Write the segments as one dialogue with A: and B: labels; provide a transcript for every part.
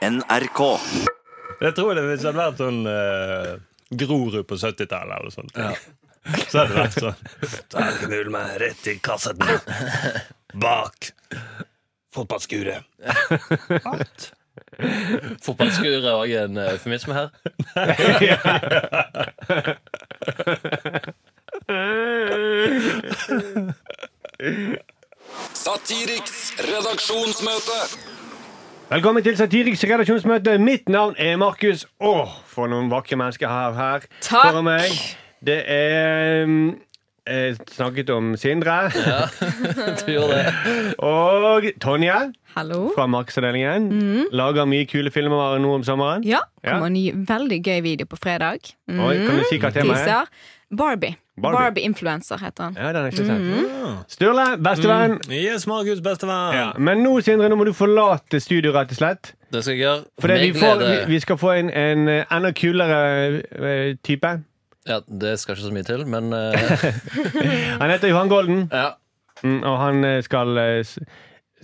A: NRK.
B: Jeg tror det Hvis det hadde vært sånn eh, Grorud på 70-tallet eller noe sånt, så hadde det vært sånn. Så knull meg rett i kassetten. Bak fotballskuret.
C: Fotballskur er òg en eh, eufemisme her.
D: Satiriks redaksjonsmøte.
E: Velkommen til Satiriks redaksjonsmøte. Mitt navn er Markus. Åh, for noen vakre mennesker her, her
F: Takk.
E: foran meg. Det er mm, jeg snakket om Sindre
C: Du gjorde det.
E: og Tonje
F: Hallo.
E: fra Markedsavdelingen. Lager mye kule filmer nå om sommeren.
F: Ja,
E: Ja.
F: kommer en ny veldig gøy video på fredag. Mm,
E: Oi, kan du si hva temaet er?
F: teaser. Barbie.
E: Barbie.
F: Barbie-influencer heter han.
E: Ja, den har jeg ikke sett. Sturle, bestevenn.
B: Yes, Markus, bestevenn.
E: Ja. Men nå, Sindre, nå må du forlate studio, rett og slett.
C: Det skal jeg gjøre.
E: For vi,
C: Med
E: får, vi,
C: glede.
E: vi skal få en, en eh, enda kulere eh, type.
C: Ja, det skal ikke så mye til, men eh,
E: Han heter Johan Golden.
C: ja.
E: Mm, og han eh, skal eh, s-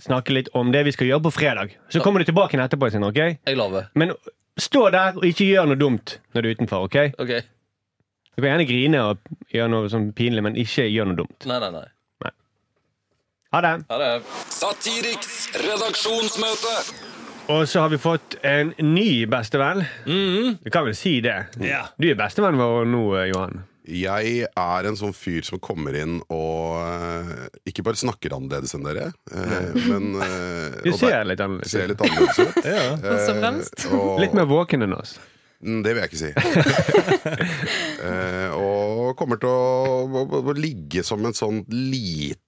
E: snakke litt om det vi skal gjøre på fredag. Så kommer du tilbake igjen etterpå. Sindre, ok?
C: Jeg lover.
E: Men stå der og ikke gjør noe dumt når du er utenfor. ok?
C: OK.
E: Du kan gjerne grine og gjøre noe sånn pinlig, men ikke gjør noe dumt.
C: Nei, nei, nei.
E: Ha det.
C: Ha det.
D: Satiriks redaksjonsmøte.
E: Og så har vi fått en ny bestevenn. Du kan vel si det?
B: Ja.
E: Du er bestevennen vår nå, eh, Johan.
G: Jeg er en sånn fyr som kommer inn og eh, ikke bare snakker annerledes enn dere, eh, men eh,
E: Du
G: og
E: ser
G: der-
E: litt annerledes
G: ser
E: ut.
G: litt annerledes ut. Eh,
F: Først og fremst.
G: og,
E: Litt mer våken enn oss.
G: Mm, Det vil jeg ikke si. Eh, og kommer til å, å, å, å ligge som en sånn liten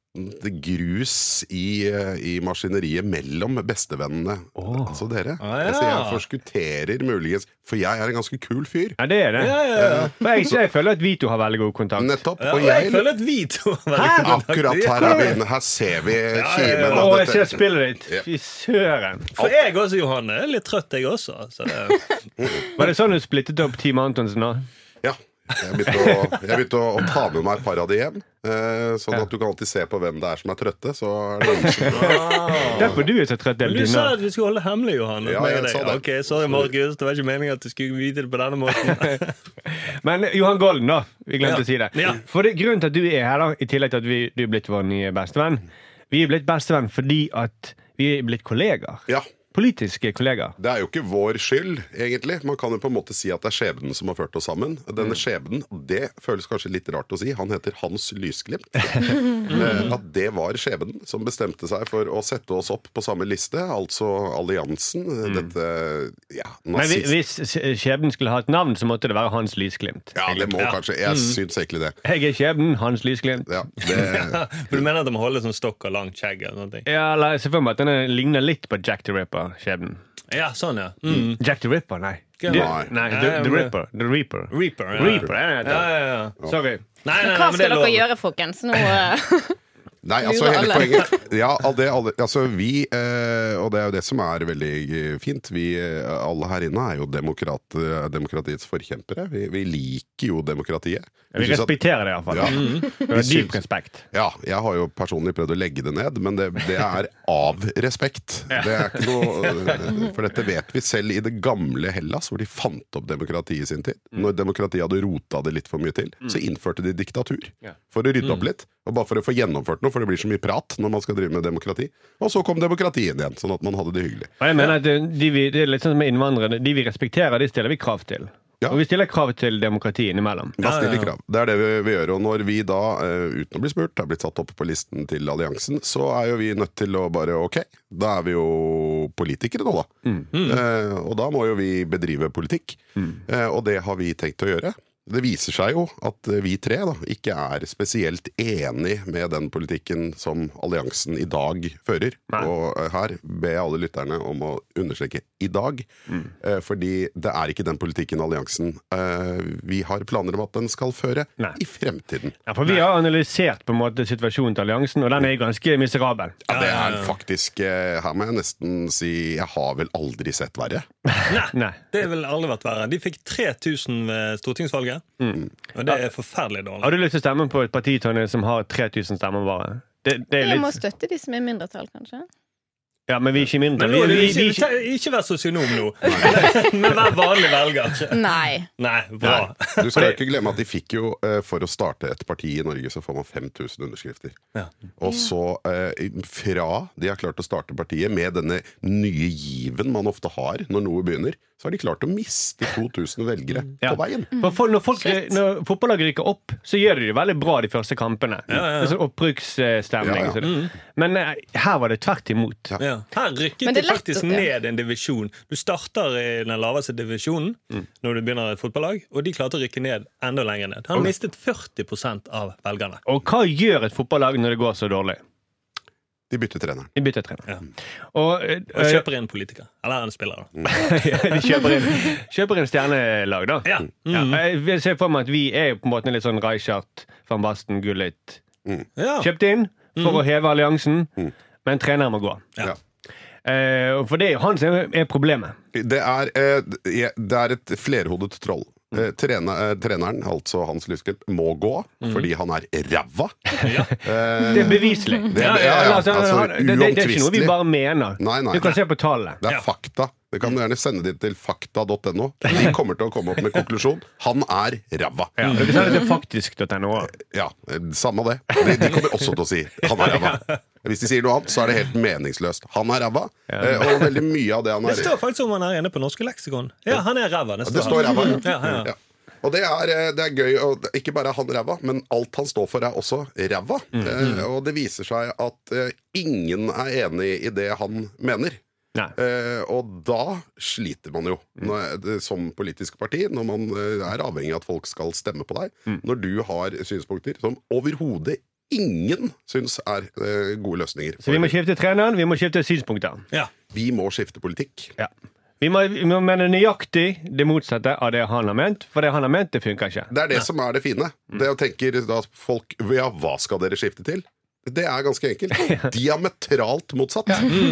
G: grus i, eh, i maskineriet mellom bestevennene. Altså dere.
B: Ah, ja.
G: jeg, sier jeg forskutterer muligens, for jeg er en ganske kul fyr.
E: Ja, det er det.
B: Ja, ja, ja.
E: For jeg, jeg føler at vi to har veldig god kontakt.
G: Nettopp.
B: Ja,
G: Og
B: og jeg
G: jeg
B: føler at vi to har vært i kontakt.
G: Akkurat her er vi inne. Her ser vi kimen.
E: Å,
G: av
E: jeg ser
G: dette.
E: spillet ditt! Fy søren.
B: For jeg også, Johanne. er Litt trøtt, jeg også. Så det,
E: Var det sånn du splittet opp Team Antonsen nå?
G: Ja. Jeg begynte, å, jeg begynte å, å ta med meg et par av de hjem. Eh, sånn at du kan alltid se på hvem det er som er trøtte. Så er det noen som
E: Derfor du er så trøtt.
B: Men Du sa
E: Evelina.
B: at vi skulle holde det hemmelig, Johanne.
G: Ja,
B: meg
G: jeg
B: og deg.
G: sa det.
B: Ok, Sorry, Markus. Det var ikke meningen at du skulle vite det på denne måten.
E: Men Johan Golden, da. Vi glemte
B: Ja.
E: å si det.
B: Ja.
E: For det, Grunnen til at du er her, da i tillegg til at vi, du er blitt vår nye bestevenn Vi er blitt bestevenn fordi at vi er blitt kollegaer.
G: Ja.
E: Politiske kollegaer.
G: Det er jo ikke vår skyld, egentlig. Man kan jo på en måte si at det er skjebnen som har ført oss sammen.
E: Mm.
G: Denne skjebnen, det føles kanskje litt rart å si, han heter Hans Lysglimt.
E: Mm.
G: Eh, At det var skjebnen som bestemte seg for å sette oss opp på samme liste, altså alliansen. Dette ja,
E: Mm. Men vi,
G: nazist...
E: hvis skjebnen skulle ha et navn, så måtte det være Hans Lysglimt.
G: Ja, det må kanskje
E: Mm.
G: Jeg syns egentlig det.
E: Jeg er skjebnen, Hans Lysglimt.
G: Ja, det
B: For du mener at de må holde sånn stokk og langt skjegg? eller noe?
E: Ja, la, jeg ser for meg at den ligner litt på Jack the Ripper-skjebnen.
B: Ja, sånn, ja. Mm.
E: Jack the Ripper, nei.
B: Hva?
E: Du-
G: Nei.
E: nei
B: Nei,
E: the,
B: men
E: the
B: det-
E: Ripper. The Reaper.
B: Reaper. Ja.
E: Reaper, er det
B: Ja,
E: det
B: ja, ja.
E: heter. Sorry.
B: Nei, nei, nei,
F: Hva
B: men det er
F: skal dere
B: lov.
F: gjøre, folkens? Nå, eh,
G: Nei, altså
F: Lurer
G: hele
F: alle.
G: poenget ja, av det, alle, altså, Vi, eh, og det er jo det som er veldig eh, fint Vi eh, alle her inne er jo demokrat, eh, demokratiets forkjempere Vi, vi liker jo demokratiet
E: Vi
G: synes at-
E: respekterer det iallfall.
G: ja,
E: fall
B: Mm.
G: Vi
E: Dyp
G: syns-
E: respekt.
G: ja, jeg har jo personlig prøvd å legge det ned Men det, det er av respekt Det er ikke noe eh, For dette vet vi selv i det gamle Hellas Hvor de fant opp demokratiet i sin tid Når demokratiet hadde rota det litt for mye til Så innførte de diktatur
E: Ja.
G: for å rydde opp litt, og bare for å få gjennomført noe, for det blir så mye prat når man skal drive med demokrati. Og så kom demokratiet igjen, sånn at man hadde det hyggelig.
E: Og jeg mener at eh, de vi, det er litt sånn som med innvandrere. De vi respekterer, de stiller vi krav til.
G: Ja.
E: Og vi stiller krav til demokrati innimellom.
G: Da stiller krav. Det er det vi, vi gjør. Og når vi da, eh, uten å bli spurt, er blitt satt opp på listen til alliansen, så er jo vi nødt til å bare ok, da er vi jo politikere nå, da. Eh, og da må jo vi bedrive politikk.
B: Mm.
G: Eh, og det har vi tenkt å gjøre. Det viser seg jo at eh, vi tre da, ikke er spesielt enig med den politikken som alliansen i dag fører.
E: Nei.
G: Og eh, her ber jeg alle lytterne om å understreke 'i dag', eh, fordi det er ikke den politikken alliansen eh, vi har planer om at den skal føre
E: Nei.
G: i fremtiden.
E: Ja, for vi har analysert på en måte situasjonen til alliansen, og den er ganske miserabel.
G: Ja, det er faktisk eh, Her må jeg nesten si jeg har vel aldri sett verre.
E: Nei.
B: Det har vel aldri vært verre. De fikk 3000 ved stortingsvalget, og det er forferdelig dårlig.
E: Har du lyst til å stemme på et parti Tonje, som har 3000 stemmer bare? Det, det er
F: jeg må
E: litt...
F: støtte de som er mindretall, kanskje.
E: Ja, men vi er ikke mindre.
B: Men
E: Vi,
B: nå, er
E: vi,
B: det
E: vi,
B: ikke, ikke vær sosionom nå, men vær vanlig velger.
F: Nei.
B: Nei, bra.
G: Du skal jo ikke glemme at de fikk jo, eh, for å starte et parti i Norge, så får man 5000 underskrifter. Og så, eh, fra de har klart å starte partiet med denne nye given man ofte har når noe begynner, så har de klart å miste 2000 velgere
E: Ja.
G: på veien.
E: For folk, når, folk,
F: Shit.
E: når fotballaget rykker opp, så gjør de det veldig bra de første kampene.
B: ja, Mm. ja.
E: Det er sånn oppbruksstemning.
G: Ja, ja.
E: så det- Men eh, her var det tvert imot.
B: Ja. Her
F: Men
B: rykket
F: det
B: de
F: er lett
B: faktisk
F: å-
B: ned en divisjon. Du starter i den laveste divisjonen når du begynner et fotballag, og de klarte å rykke ned enda lenger ned. Han mistet 40 av velgerne.
E: Og hva gjør et fotballag når det går så dårlig?
G: De bytter trener.
E: De bytter trener.
B: Ja.
E: Og, eh,
B: Og kjøper inn politiker. Eller en spiller, da.
E: de kjøper inn, kjøper inn stjernelag, da.
B: Ja. Mm.
E: Ja, jeg vil se for meg at vi er på en måte litt sånn Reichardt, van Basten, Gullit.
B: Ja.
E: Kjøpt inn for å heve alliansen, men trener må gå.
G: Ja.
E: Eh, og for det er jo han som er- er problemet.
G: Det er, eh, det er et flerhodet troll.
E: Mm.
G: Eh, trene, eh, treneren, altså Hans Lyskelt, må gå
E: Mm.
G: fordi han er ræva. Eh,
E: Det er beviselig.
G: det, ja, ja,
E: altså,
G: altså,
E: han- det, det, det er ikke noe vi
G: uomtvistelig.
E: bare mener.
G: Nei, nei,
E: du kan
G: nei.
E: se på tallene.
G: Det er
B: Ja.
G: fakta. Det kan du gjerne sende dit til fakta.no. De kommer til å komme opp med konklusjon. Han er ræva.
E: Ja, dere sa det til faktisk.no.
G: Ja, eh, samme det. De, de kommer også til å si 'han er ræva'. Hvis de sier noe annet, så er det helt meningsløst. Han er ræva, eh, og veldig mye av det han
B: Det
G: er
B: står faktisk om han er inne på norske leksikon. Ja, han er ræva.
G: Det står ræva.
B: Ja, ja, ja.
G: Ja. Og det er, eh, det er gøy. Og det- ikke bare er han ræva, men alt han står for, er også ræva.
B: Mm.
G: Eh, og det viser seg at eh, ingen er enig i det han mener.
E: Nei.
G: Eh, og da sliter man jo
E: Mm.
G: når, det- som politisk parti, når man eh, er avhengig av at folk skal stemme på deg.
E: Mm.
G: Når du har synspunkter som overhodet ingen syns er eh, gode løsninger.
E: Så vi må skifte treneren, vi må skifte synspunkter.
B: Ja.
G: vi må skifte politikk.
E: Ja. Vi må, vi må mene nøyaktig det motsatte av det han har ment, for det han har ment, det funker ikke.
G: Det er det som er det fine.
E: Mm.
G: Det å tenker da folk Ja, hva skal dere skifte til? Det er ganske enkelt. Diametralt motsatt.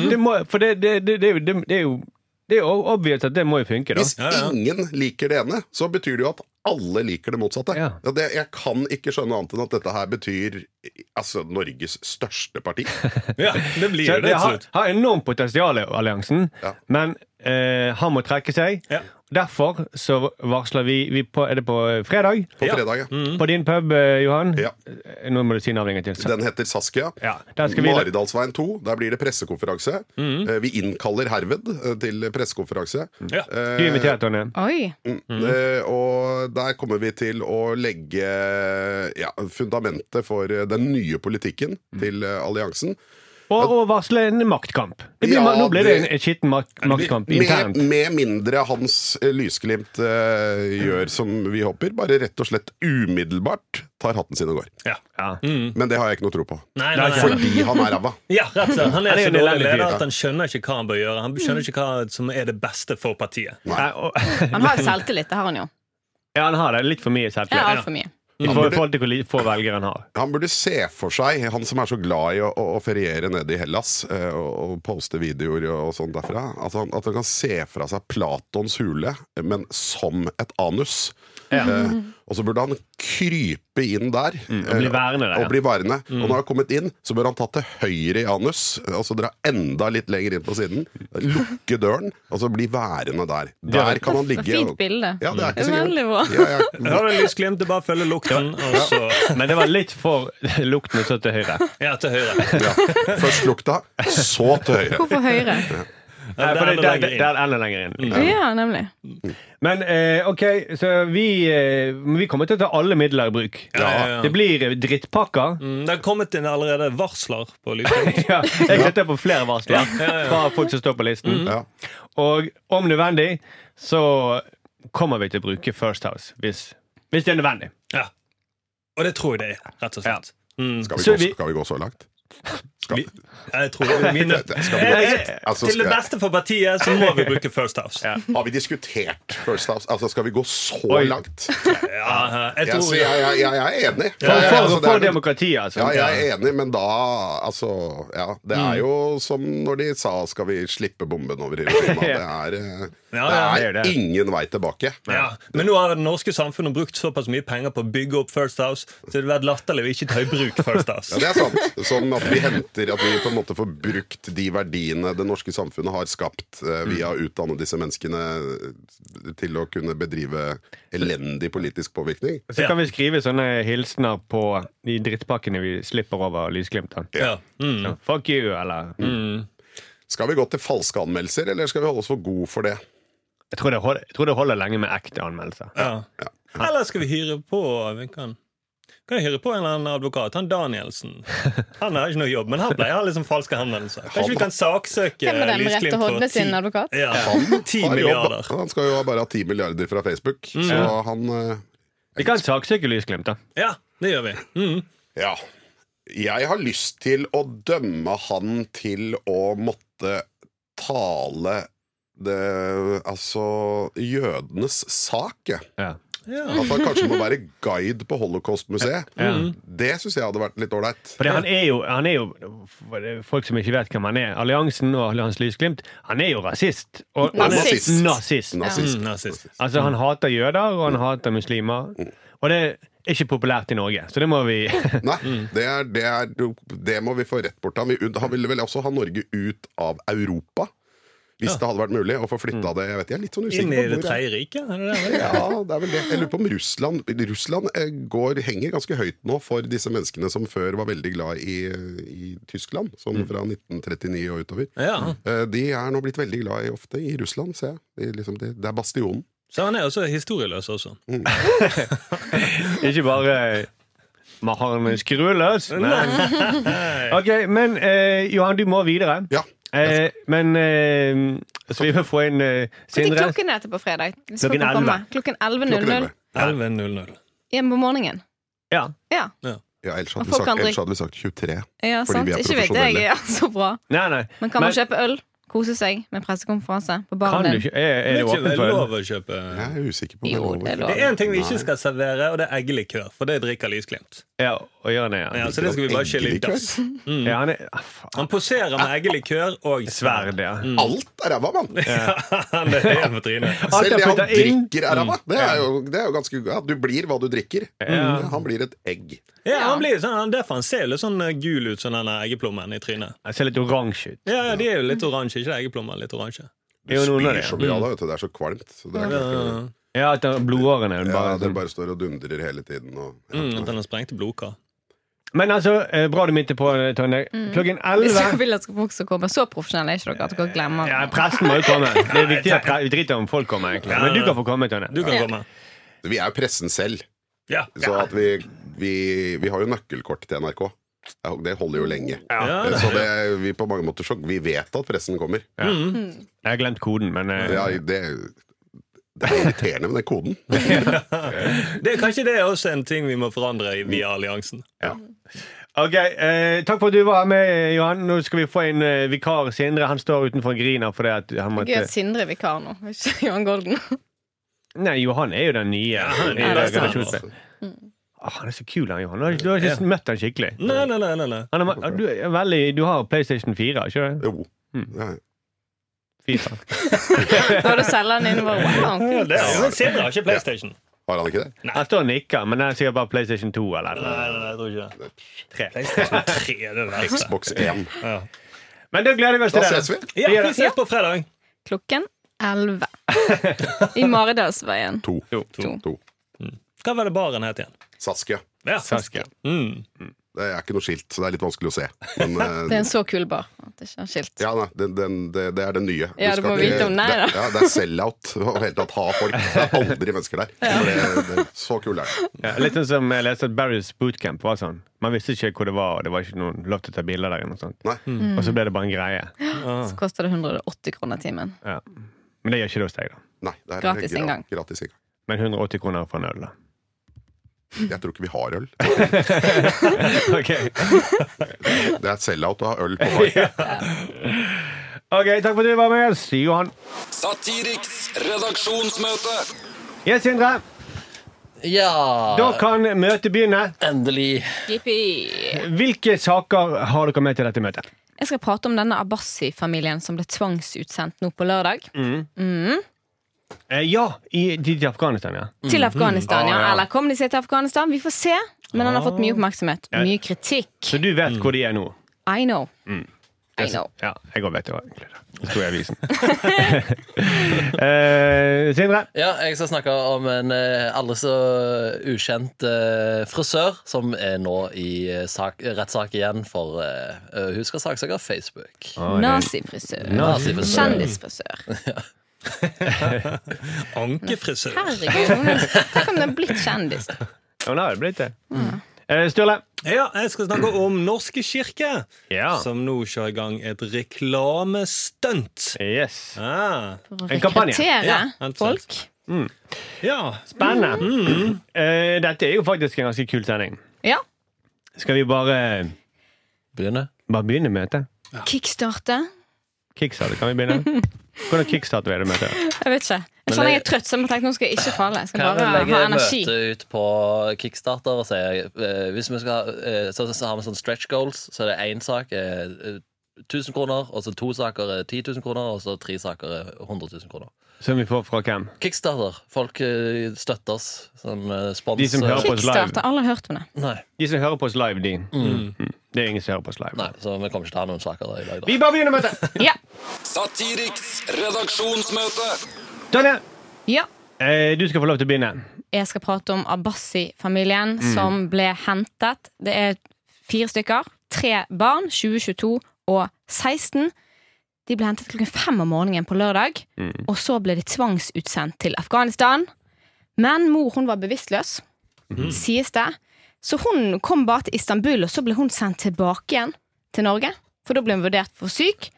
E: Det må, for det, det, det, det, er jo- det, det er jo det er jo obvious at det må jo funke, da.
G: Hvis
B: Ja, ja.
G: ingen liker det ene, så betyr det jo at alle liker det motsatte.
E: Ja.
G: Ja, det, jeg kan ikke skjønne annet enn at dette her betyr altså, Norges største parti.
B: ja, det blir
E: Så
B: jo det
E: det
B: til
E: har,
B: slutt.
E: har enormt potensial, alliansen,
G: Ja.
E: men eh, han må trekke seg.
B: Ja.
E: Derfor så varsler vi, vi på, Er det på eh, fredag?
G: På
B: Ja. Mm.
G: fredag. ja.
E: På din pub, eh, Johan?
G: Ja.
E: Eh, Nå må du si navnet en gang til.
G: Den heter Saskia.
E: Ja, der skal vi-
G: Maridalsveien 2. Der blir det pressekonferanse. Eh, Vi innkaller herved eh, til pressekonferanse.
B: Mm.
G: Eh,
B: Ja.
E: Du er invitert, Tonje.
F: Oi.
G: Mm. Eh, og der kommer vi til å legge ja, fundamentet for eh, den nye politikken
B: Mm.
G: til eh, alliansen.
E: Og, og varsle en maktkamp. Det blir,
G: Ja,
E: ma- nå blir det en
G: det-
E: en skitten mak maktkamp
G: Med,
E: internt.
G: med mindre Hans eh, Lysglimt eh, gjør som vi håper, bare rett og slett umiddelbart tar hatten sin og går.
B: Ja.
E: Ja.
G: Men det har jeg ikke noe tro på.
B: Nei, nei, nei.
G: Fordi han er ræva.
B: Ja, rett og slett. Han er
E: er
B: så
E: en
B: dårlig
E: elendig fyr,
B: leder
E: ja.
B: at han skjønner ikke hva han bør gjøre. Han skjønner ikke hva som er det beste for partiet.
E: Nei, Eh, og-
F: Han har jo selvtillit, det har han jo.
E: Ja, han har det. Litt for mye selvtillit.
F: Ja, altfor mye.
E: I forhold forhold til hvor li- få velgere han har.
G: Han burde se for seg, han som er så glad i å, å, å feriere nede i Hellas eh, og, og poste videoer og sånn derfra, at han, at han kan se fra seg Platons hule, men som et anus. Eh, og så burde han krype inn der.
E: Mm, og bli
G: eh,
E: værende der, ja. Mm.
G: Og, bli værende. og når han har kommet inn, så bør han ta til høyre i anus, eh, og så dra enda litt lenger inn på siden, lukke døren, og så bli værende der. Der kan han ligge.
F: Fint bilde.
G: Ja, det er ikke så
F: Veldig
G: gærent.
F: bra.
G: Ja,
B: Da
G: ja.
B: var det lysglimt. Det bare følger lukten, og så
E: Men det var litt for lukten og så til høyre.
B: ja, til høyre.
G: Ja. Først lukta, så til høyre.
F: Hvorfor høyre?
E: Nei,
B: det
E: for
B: er
E: det,
B: enda
E: der,
B: lenger inn.
E: der er enda lenger inn. Mm.
F: Ja, nemlig.
E: Men eh, ok, så vi, eh, men vi kommer til å ta alle midler i bruk.
B: Ja, ja, ja.
E: Det blir eh, drittpakker.
B: Mm, Det har kommet inn allerede varsler på lysglimt.
E: Ja, jeg setter på flere varsler fra folk som står på listen.
G: Ja.
E: Og om nødvendig så kommer vi til å bruke First House hvis, hvis det er nødvendig.
B: Ja. Og det tror jeg det er, rett og slett. Mm.
G: Skal vi,
E: Så
G: gå,
E: vi-
G: skal vi gå så langt? Skal,
B: Vi- Jeg tror det er mine.
G: skal vi,
E: Eh,
B: Jeg-
G: altså,
B: Til det
G: skal,
B: beste for partiet så må vi bruke First House. Ja,
G: har vi diskutert First House? Altså, skal vi gå så
E: Oi.
G: langt?
B: jeg
G: Jeg,
B: tror
G: jeg, jeg, jeg, jeg er enig.
E: For,
G: Jeg-
E: for,
G: altså,
E: for
G: det er,
E: demokratiet, altså.
G: ja, jeg er enig, men da Altså, ja. Det er jo som når de sa 'skal vi slippe bomben over Hiroshima'. Det er eh,
B: Ja,
G: det
B: ja.
G: er
E: det er det.
G: ingen vei tilbake.
B: Ja, Men nå har det norske samfunnet brukt såpass mye penger på å bygge opp First House, så det hadde vært latterlig å ikke ta i bruk First
G: Ja,
B: House.
G: det er sant. Som at vi henter At vi på en måte får brukt de verdiene det norske samfunnet har skapt eh, via å utdanne disse menneskene til å kunne bedrive elendig politisk påvirkning.
E: Så kan vi skrive sånne hilsener på de drittpakkene vi slipper over lysglimtene.
B: Ja. Mm.
E: Så, Fuck you, eller
G: Skal vi gå til falske anmeldelser, eller skal vi holde oss for gode for det?
E: jeg tror, det holder, jeg tror det holder lenge med ekte anmeldelser.
B: Ja. Eller skal vi hyre på vi kan, kan jeg hyre på en eller annen advokat? Han Danielsen. Han har ikke noe jobb, men han pleier å ha liksom falske henvendelser. Kanskje vi kan saksøke
F: Hvem er den med
B: Lysglimt
F: rette
B: for
F: hodene sin
B: ti-
F: advokat?
B: Ja, ti
G: Har jobb, da.
B: milliarder. Mm.
G: Han skal jo bare ha 10 milliarder fra Facebook, så han eh,
E: Vi kan saksøke Lysglimt, da.
B: Ja, det gjør vi. Mm.
G: Ja. Jeg har lyst til å dømme han til å måtte tale det, altså jødenes sak. jeg.
E: Ja.
B: Ja.
G: At han kanskje må være guide på Holocaust-museet.
E: Ja.
G: Det syns jeg hadde vært litt ålreit.
E: For han er jo, han er jo for det er Folk som ikke vet hvem han er. Alliansen og Allians Lysglimt. Han er jo rasist. Og han er
F: Nazist.
E: nazist.
G: Nazist.
B: Mm, nazist.
E: Altså, han hater jøder, og han hater muslimer. Og det er ikke populært i Norge, så det må vi
G: Nei, det, er, det, er, det må vi få rett bort. Han, vil- han ville vel også ha Norge ut av Europa. Hvis det hadde vært mulig å få flytta det. Jeg vet, jeg er litt sånn usikker
B: Inn i
G: på
B: Det
G: hvor jeg-
B: tredje riket? Er det det? vel?
G: Ja, det er vel det. Jeg lurer på om Russland Russland eh, går, henger ganske høyt nå for disse menneskene som før var veldig glad i, i Tyskland, som fra 1939 og utover.
B: Ja.
G: Eh, De er nå blitt veldig glad i ofte i Russland, ser jeg. Det er, liksom, det, det er bastionen.
B: Så han er også historieløs også.
E: Ikke bare eh, Maharene skruløs. Ok, men eh, Johan, du må videre.
G: Ja.
E: Eh, men eh, Så vi må få inn eh,
F: Når
E: Sindre.
F: klokken er til på fredag? Du skal
E: Klokken
F: få komme.
E: 11.
F: Klokken
G: Klokken
F: 11.00
G: elleve.
B: 11.00.
F: hjemme på morgenen.
E: Ja.
F: Ja,
G: Ja, ellers hadde,
F: Og
G: vi
F: folk
G: sagt,
F: kan drikke-
G: ellers hadde vi sagt 23.
F: ja
G: Fordi
F: sant.
G: vi er
F: Ikke vet jeg.
G: profesjonelle.
F: Ja, så bra.
E: Nei, nei.
F: Men kan
E: Men-
F: man kjøpe øl? Kose seg med pressekonferanse på
E: Kan
F: baren
E: du
F: din?
E: ikke? Er, er
B: Det
E: det
B: er
E: åpent
B: ikke
E: for
B: lov å kjøpe
G: Jeg er usikker på om
F: Jo,
G: er lov.
F: det er lov.
B: Det er én ting vi ikke skal servere, og det er eggelikør. For det drikker Lysglimt.
E: Ja, å gjøre det, ja.
B: Ja, så det skal vi bare skille Mm. i dass.
F: Mm.
E: ja han er ah, faen,
B: Han poserer med eggelikør og sverd.
E: Sverd, ja.
G: Alt er ræva, mann!
B: Han er Mm. helt på trynet.
E: Alt
G: Selv
E: er
G: det han
E: puttet inn.
G: drikker, er ræva. Det er jo, det er jo ganske ja, Du blir hva du drikker.
E: Ja.
G: Han blir et egg.
B: Ja, han blir sånn, han- Derfor han ser jo litt sånn eh, gul ut som den eh, eggeplommen i trynet.
E: Han ser litt oransje ut.
B: Ja, ja, De er jo litt oransje, ikke det eggeplommen? litt oransje
E: Det er jo noen av
G: Spyr
E: det,
G: så
E: ja.
G: mye av det, vet du. Det er så kvalmt. Så det
B: Mm.
G: er
B: Ja,
G: klart det-
B: ja,
E: Ja, at han- blodårene er
G: Ja,
E: bare
G: den bare står og dundrer hele tiden. Og,
B: ja. sånn- Mm, At han har sprengte blodkar.
E: Men altså, eh, bra du minte på, eh, Tonje. Klokken
F: Hvis
E: elleve
F: dere vil at folk skal komme så profesjonelle, er ikke dere at dere glemmer
E: ja, Presten må jo komme. Det er viktig at pre vi driter om folk kommer. egentlig Men du kan få komme, Tonje.
B: Du kan komme.
G: Vi er jo pressen selv,
B: Ja.
G: så at vi, vi, vi har jo nøkkelkort til NRK. Ja, Det holder jo lenge.
B: Ja, det-
G: Så det, vi på mange måter så, Vi vet at pressen kommer.
E: Jeg har glemt koden, men eh,
G: Ja, det, det er irriterende med den koden.
B: det er kanskje det er også en ting vi må forandre i via alliansen.
E: Ok, eh, Takk for at du var her med, eh, Johan. Nå skal vi få inn eh, vikar Sindre. Han står utenfor og griner fordi at han
F: Gøy
E: måtte
F: at Sindre er vikar nå, ikke Johan Golden. Nei,
E: Nei, Johan er jo den nye.
B: han er
E: nye
B: den beste,
E: generasjonen. Ah, han er så kul, han Johan. Du har ikke, du har ikke møtt han skikkelig.
B: Nei, nei, nei, nei, nei.
E: Han er, ah, du, er veldig, du har PlayStation 4, ikke det?
G: Jo. Ja,
E: FIFA.
F: Prøvde å selge den inn og bare wow.
B: Ja,
F: kult.
B: det er, men Sindre har ikke PlayStation.
G: har han ikke det?
E: Han står og nikker, men det er sikkert bare PlayStation 2 eller
B: Nei,
E: noe.
B: nei, nei, jeg tror ikke det.
E: Tre.
B: PlayStation 3 det er det verste.
G: Xbox 1.
B: Ja.
E: Men da gleder vi oss
G: Da
E: til det.
G: ses vi.
B: Ja, vi ses på fredag.
F: Klokken 11. I Maridalsveien.
G: To.
F: To.
G: To.
B: Hva var det baren het igjen?
G: Saskia.
B: Ja.
E: Saskia.
B: Mm.
G: Det er ikke noe skilt, så det er litt vanskelig å se. Men eh,
F: Det er en så kul bar at det ikke har skilt.
G: Ja, nei, den, den, det, det er den nye.
F: Ja, du
G: skal
F: må
G: ikke-
F: vite om den her,
G: det, ja, det er sell-out å i hele tatt ha folk. Det er aldri mennesker der. For Det, det, så kul er det.
E: Ja, litt sånn som jeg leste at Barry's bootcamp var sånn. Man visste ikke hvor det var, og det var ikke noen lov til å ta bilder der. eller noe sånt.
G: Nei.
F: Mm.
E: Og så ble det bare en greie.
F: Så koster det 180 kroner timen.
E: Ja. Men det gjør ikke det hos deg, da.
G: Nei det er
F: Gratis
G: gra-
F: inngang.
G: Gratis inngang.
E: Men 180 kroner for en øl, da.
G: Jeg tror ikke vi har øl.
E: Ok,
G: Det er sell-out å ha øl på bar.
E: Ok, takk for at du var med oss, Johan.
D: Satiriks redaksjonsmøte.
E: Yes, Sindre. Da
C: Ja,
E: kan møtet begynne.
C: endelig.
F: Jippi!
E: Hvilke saker har dere med til dette møtet?
F: Jeg skal prate om denne Abbasi-familien som ble tvangsutsendt nå på lørdag. Mm.
E: Eh, ja, i, til til Afghanistan, ja.
F: Til
E: Ah,
F: Afghanistan, ja.
E: ja.
F: Eller kom de seg til Afghanistan? Vi får se. Men han har fått mye oppmerksomhet.
E: Ja.
F: Mye kritikk.
E: Så du vet hvor de er nå?
F: I know. I know.
E: Ja, jeg òg vet det. egentlig. Det sto i avisen. Eh, Sindre?
C: Ja, jeg skal snakke om en eh, aldri så ukjent eh, frisør som er nå i eh, sak, rettssak igjen for eh, eh, Hun skal saksøke Facebook.
F: Nazifrisør.
C: Nazifrisør.
F: Kjendisfrisør.
B: Ankefrisør.
F: Herregud, hun er- tenk om det er blitt kjendis.
E: Ja, nå har det blitt det. Eh, Sturle?
B: Ja, jeg skal snakke om Norske kirke,
E: Ja.
B: som nå kjører i gang et reklamestunt.
E: Yes.
B: Ah,
F: For å
E: En kampanje.
B: Ja,
F: rekruttere
B: helt
F: folk.
B: ja.
E: Spennende. Eh, dette er jo faktisk en ganske kul sending.
F: Ja.
E: Skal vi bare,
C: Begynner.
E: bare begynne møtet?
F: Kickstarte.
E: Kickstart, kan vi begynne? Hvordan kickstarter vi det møtet?
F: Jeg vet ikke. Jeg
C: Men
F: kjenner jeg
C: jeg-
F: er trøtt, så jeg må tenke nå skal jeg ikke falle. Jeg skal
C: Kan vi
F: bare
C: legge
F: ha energi.
C: møtet ut på Kickstarter og si eh, hvis vi skal, ha- eh, så, så har vi sånn stretch goals, så er det én sak er 1000 kroner, og så to saker er 10 000 kroner, og så tre saker er 100 000 kroner.
E: Som vi får fra hvem?
C: Kickstarter. Folk eh, støtter oss. Sånn eh, spons.
E: De som hører på oss
F: Kickstarter.
E: live.
F: Alle har hørt om det.
C: Nei,
E: De som hører på oss live, de. Mm. Det er ingen som hører på oss live.
C: nei, så vi kommer ikke til å ha noen saker der i dag. Da.
E: Vi bare begynner møtet!
F: Ja.
D: Satiriks redaksjonsmøte.
E: Tonje,
F: ja.
E: eh, du skal få lov til å begynne.
F: Jeg skal prate om Abbasi-familien
E: Mm.
F: som ble hentet. Det er fire stykker. Tre barn, 2022 og 16. De ble hentet klokken fem om morgenen på lørdag.
E: Mm.
F: Og så ble de tvangsutsendt til Afghanistan. Men mor hun var bevisstløs,
E: Mhm.
F: sies det. Så hun kom bare til Istanbul, og så ble hun sendt tilbake igjen til Norge. For da ble hun vurdert for syk.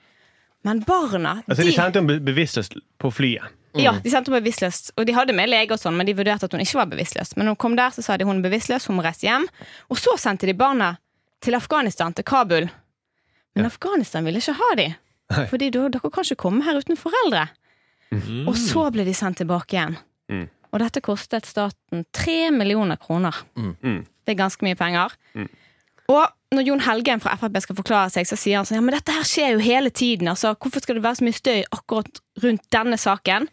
F: Men barna
E: Altså, de sendte henne bevisstløst på flyet.
F: Ja, de sendte henne bevisstløs. Og de hadde med lege og sånn, men de vurderte at hun ikke var bevisstløs. Men når hun kom der, så sa de hun er bevisstløs, hun må reise hjem. Og så sendte de barna til Afghanistan, til Kabul. Men Afghanistan ville ikke ha de. Fordi da, dere kan ikke komme her uten foreldre. Og så ble de sendt tilbake igjen.
E: Mm.
F: Og dette kostet staten tre millioner kroner.
E: Mm.
F: Det er ganske mye penger. Og når Jon Helgheim fra Frp skal forklare seg, så sier han sånn Ja, men dette her skjer jo hele tiden. Altså, hvorfor skal det være så mye støy akkurat rundt denne saken?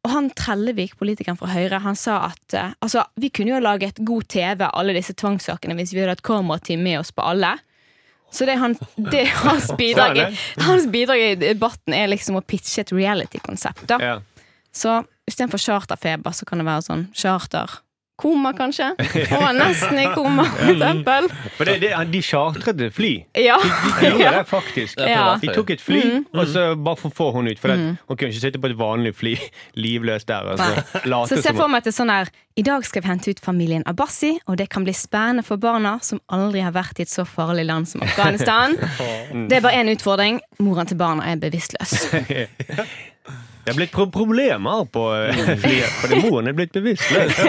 F: Og han Trellevik, politikeren fra Høyre, han sa at eh, altså, vi kunne jo laget god TV av alle disse tvangssakene hvis vi hadde hatt kamerateam med oss på alle. Så det er, han, det er hans bidrag i, hans bidrag i debatten er liksom å pitche et reality-konsept. da.
E: Ja.
F: Så istedenfor charterfeber, så kan det være sånn charterkoma, kanskje. Og nesten i koma, for eksempel.
E: For det, det, de chartret et fly.
F: Ja.
E: De gjorde det faktisk.
C: Det er
F: Ja. Mm.
C: privatfly.
E: De tok et fly, og så bare for å få henne ut. For at hun kunne ikke sitte på et vanlig fly livløs der. Og så
F: Så
E: late
F: se
E: som
F: for
E: hun
F: meg at det er sånn her I dag skal vi hente ut familien Abbasi, og det kan bli spennende for barna som aldri har vært i et så farlig land som Afghanistan. Det er bare én utfordring. Moren til barna er bevisstløs.
E: Det er blitt pro problemer på
F: Mm.
E: eh, flyet, fordi moren er blitt bevisstløs.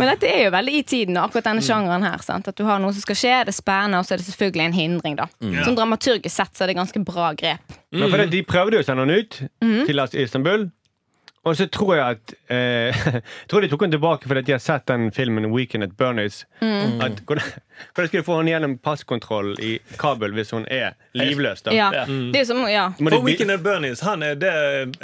F: Men dette er jo veldig i tiden, og akkurat denne sjangeren her. Sant? At du har noe som skal skje, det er spennende, og så er det selvfølgelig en hindring, da. Sånn dramaturgisk sett så er det ganske bra grep.
E: Men fordi de prøvde jo å sende henne ut
F: Mm.
E: til Istanbul. Og så tror jeg at eh, jeg tror de tok henne tilbake fordi at de har sett den filmen 'Weekend at Bernies'.
F: Mm.
E: At, hvordan, hvordan skal de få henne gjennom passkontroll i Kabul hvis hun er livløs? da?
F: Ja.
B: Mm.
F: Det er jo som, ja.
E: Må de
B: For
E: by-
B: Weekend at Bernies han er det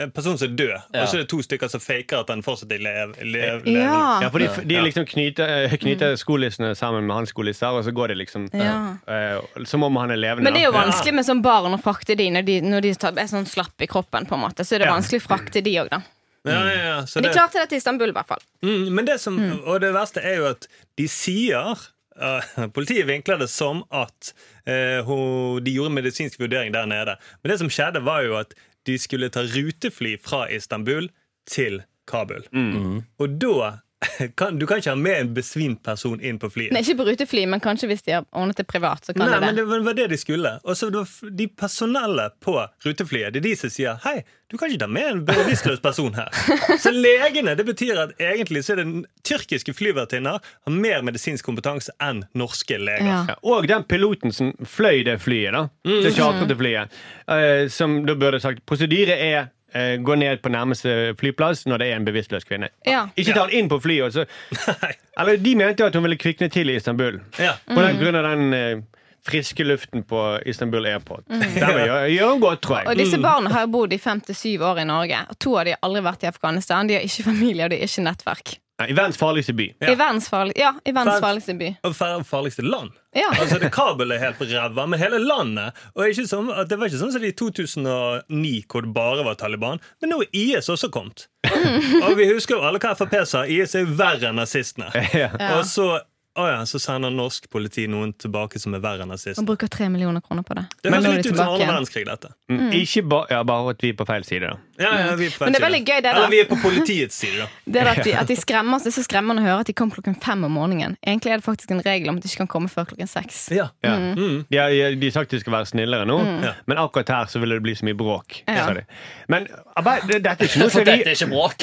B: en person som er død, og
C: Ja.
B: så er det to stykker som faker at han fortsatt er lev, lev, lev.
F: Ja.
E: Ja, for de, de liksom knyter, eh, knyter skolissene sammen med hans skolisser, og så går det liksom
F: Mm. Ja.
E: eh, Som om han er levende.
F: Men det er jo
E: da.
F: vanskelig med sånn barn å frakte de når de, når de tar, er sånn slapp i kroppen, på en måte. Så er det vanskelig å frakte de òg, da.
B: Ja, ja, ja. Så
F: Men de
B: det-
F: klarte det til Istanbul, i hvert fall.
B: Mm, men det som, og det verste er jo at de sier eh, Politiet vinkler det som at eh, hun, de gjorde en medisinsk vurdering der nede. Men det som skjedde, var jo at de skulle ta rutefly fra Istanbul til Kabul. Og da kan, Du kan ikke ha med en besvimt person inn på flyet.
F: Nei, ikke på rutefly, men kanskje hvis de har ordnet det privat, så kan
B: Nei,
F: de
B: men
F: det.
B: det var var det de skulle. Og så det var f- de personelle på ruteflyet Det er de som sier 'hei, du kan ikke ta med en bevisstløs person her'. Så legene, det betyr at egentlig så er det n- tyrkiske flyvertinner har mer medisinsk kompetanse enn norske leger.
F: Ja.
E: Ja, og den piloten som fløy det flyet, da. Det chartrede flyet. eh, som da burde sagt Prosedyre er eh, gå ned på nærmeste flyplass når det er en bevisstløs kvinne.
F: Ja.
E: Ikke ta den inn på flyet. altså. og så-
B: Nei.
E: Eller de mente jo at hun ville kvikne til i Istanbul.
B: Ja.
E: På den grunn av den eh, friske luften på Istanbul Airport. Der vil gjøre, gjøre hun godt, tror
F: Og
E: jeg.
F: disse barna har jo bodd i fem til syv år i Norge. Og to av de har aldri vært i Afghanistan. De har ikke familie, og de har ikke nettverk.
E: Nei, I verdens farligste by.
F: I verdens farlig, ja, i verdens
B: Sant.
F: farligste by.
B: Og fer- farligste land.
F: Ja.
B: Altså, det Kabul er helt på ræva med hele landet. Og ikke som, at det var ikke sånn som det i 2009, hvor det bare var Taliban. Men nå er IS også kommet. Og vi husker jo alle hva Frp sa. IS er verre enn nazistene.
E: Ja.
F: Ja.
B: Og så, å ja, så sender norsk politi noen tilbake som er verre enn
F: Man
B: nazistene.
F: bruker tre millioner kroner på det.
B: Det
F: Men
B: høres
F: nå er
B: litt ut
F: de
B: som
F: tilbake
B: andre
F: igjen.
B: verdenskrig, dette.
E: Mm. Ikke ba, ja, bare at vi er på feil side. da.
B: Ja, ja, vi er på
F: Men det er
B: feil
F: veldig
B: side.
F: gøy det da.
B: Eller vi er på politiets side, da.
F: Det er at de, at de skremmer oss, det er så skremmende å høre at de kom klokken fem om morgenen. Egentlig er det faktisk en regel om at de ikke kan komme før klokken seks.
B: Ja.
E: Ja.
F: Mm.
C: Mm.
E: De, har, de har sagt de skal være snillere nå,
B: Ja.
E: men akkurat her så ville det bli så mye bråk.
F: Ja.
E: sa de. Men arbeid, det, dette er ikke noe
C: For
E: som
C: dette er
E: vi
C: ikke bråk.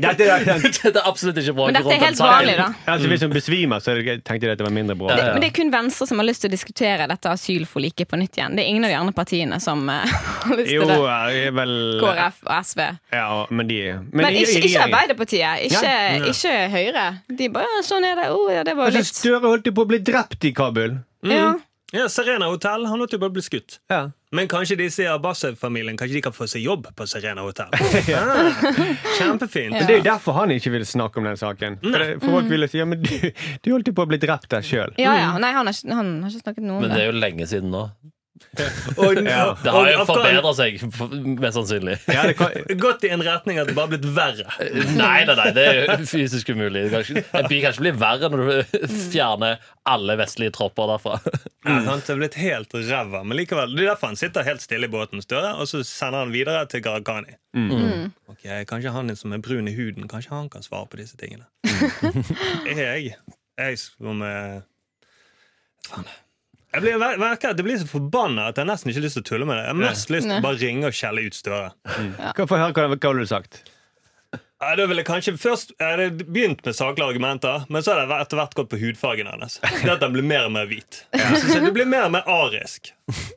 E: dette er-
C: Dette er absolutt ikke bråk.
F: Men dette
C: rundt
F: er
C: den
F: helt
C: saken.
F: vanlig, da.
E: Altså,
C: Mm.
E: Hvis hun besvimer, så er det- tenkte jeg at det var mindre bråk.
F: Det, men det er kun Venstre som har lyst til å diskutere dette asylforliket på nytt igjen. Det er ingen av de andre partiene som eh, har lyst
E: Jo,
F: til det.
E: er vel
F: KrF og SV.
E: Ja, men de Men,
F: Men
E: i- i
F: ikke, ikke
E: regjeringen.
F: Arbeiderpartiet. Ikke,
E: Ja.
F: ikke Høyre. De bare «Ja, 'Sånn er det. Oh, ja, det var jo
E: Altså,
F: litt
E: Støre holdt jo på å bli drept i Kabul.
F: ja.
B: ja, Serena Hotel, han lot jo bare bli skutt.
E: Ja.
B: Men kanskje disse i Abbasov-familien Kanskje de kan få seg jobb på Serena Hotel. Ah, Kjempefint.
E: Men Det er jo derfor han ikke vil snakke om den saken. For, det, for
F: Mm.
E: folk ville si ja, men du, du holdt jo på å bli drept der sjøl.
F: ja, ja. Nei, han har, ikke, han har ikke snakket noe om
C: Men det
F: det.
C: er jo lenge siden nå.
B: Og,
C: Det har jo
B: og Afghan-
C: forbedret seg, f- mest sannsynlig.
E: Ja, det kan-
B: gått i en retning at det bare har blitt verre.
C: Nei, nei, nei, det er jo fysisk umulig. Det kan ikke- En by kan ikke bli verre når du fjerner alle vestlige tropper derfra.
B: Ja, sant? det har blitt helt ræva, men likevel. Det er derfor han sitter helt stille i båten, Støre, og så sender han videre til Gharahkhani.
F: Mm.
B: Ok, Kanskje han som er brun i huden, kanskje han kan svare på disse tingene.
F: Mm.
B: jeg jeg som eh, Faen. Jeg blir, ver- verker, det blir så forbanna at jeg nesten ikke har lyst til å tulle med det. Jeg har mest lyst til å
F: Nei.
B: bare ringe og skjelle ut Støre.
E: Kan få høre hva, hva har du sagt.
B: Ja, da ville jeg kanskje Først jeg hadde begynt med saklige argumenter, men så har det etter hvert gått på hudfargen hennes. Det at den blir mer og mer hvit. Så, så det blir mer og mer arisk.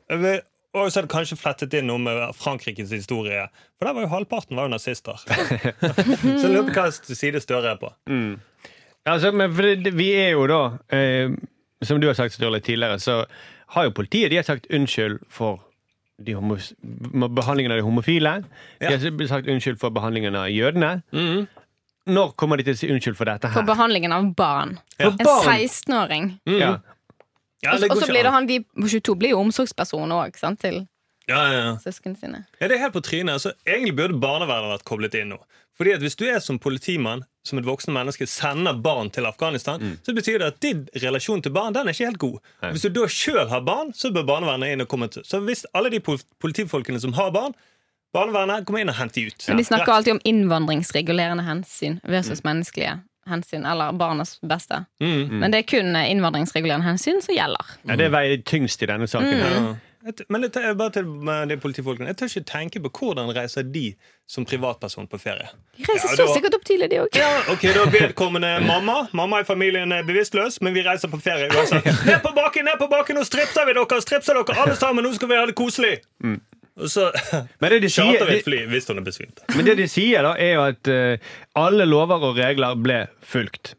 B: Jeg vil- Og så har det kanskje flettet inn noe med Frankrikes historie. For der var jo halvparten var jo nazister. Så jeg lurer på hva side Støre er på.
E: Altså, men for det, det- vi er jo da, eh, som du har sagt Sturle, tidligere, så har jo politiet de har sagt unnskyld for de homo, behandlingen av de homofile. De har s- sagt unnskyld for behandlingen av jødene.
B: Mm-hmm.
E: Når kommer de til å si unnskyld for dette her?
F: For behandlingen av barn.
E: For
F: En 16-åring.
E: Ja.
B: Mm-hmm. Ja,
F: Og
B: det går
F: og så
B: ikke
F: blir det
B: an.
F: han vi på 22 blir jo omsorgsperson òg, til
B: Ja, ja, ja.
F: søsknene sine.
B: Ja, det er helt på trynet. Altså, egentlig burde barnevernet vært koblet inn nå. Fordi at Hvis du er som politimann, som et voksen menneske, sender barn til Afghanistan, så betyr det at din relasjon til barn den er ikke helt god. Hvis du da sjøl har barn, så bør barnevernet inn og komme til. Så hvis alle de pol- politifolkene som har barn, barnevernet kommer inn og henter de ut.
F: Men de snakker alltid om innvandringsregulerende hensyn versus
B: Mm.
F: menneskelige hensyn, eller barnas beste. Men det er kun eh, innvandringsregulerende hensyn som gjelder.
E: ja, det veier tyngst i denne saken. her.
B: Ja. Jeg t- Men jeg tar, bare til med de politifolkene Jeg tør ikke tenke på hvordan reiser de som privatperson på ferie.
F: De reiser
B: Ja,
F: så
B: det var-
F: sikkert opp tidlig, de òg.
B: Ja, ok, da er vedkommende mamma. Mamma i familien er bevisstløs, men vi reiser på ferie uansett. Ned på bakken, ned på bakken, nå stripser vi dere! Stripser dere alle sammen, nå skal vi ha det koselig! Og så
E: Men det de sier,
B: Mm. charter vi
E: de,
B: et fly hvis hun er besvimt.
E: Men det de sier, da, er jo at eh, alle lover og regler ble fulgt.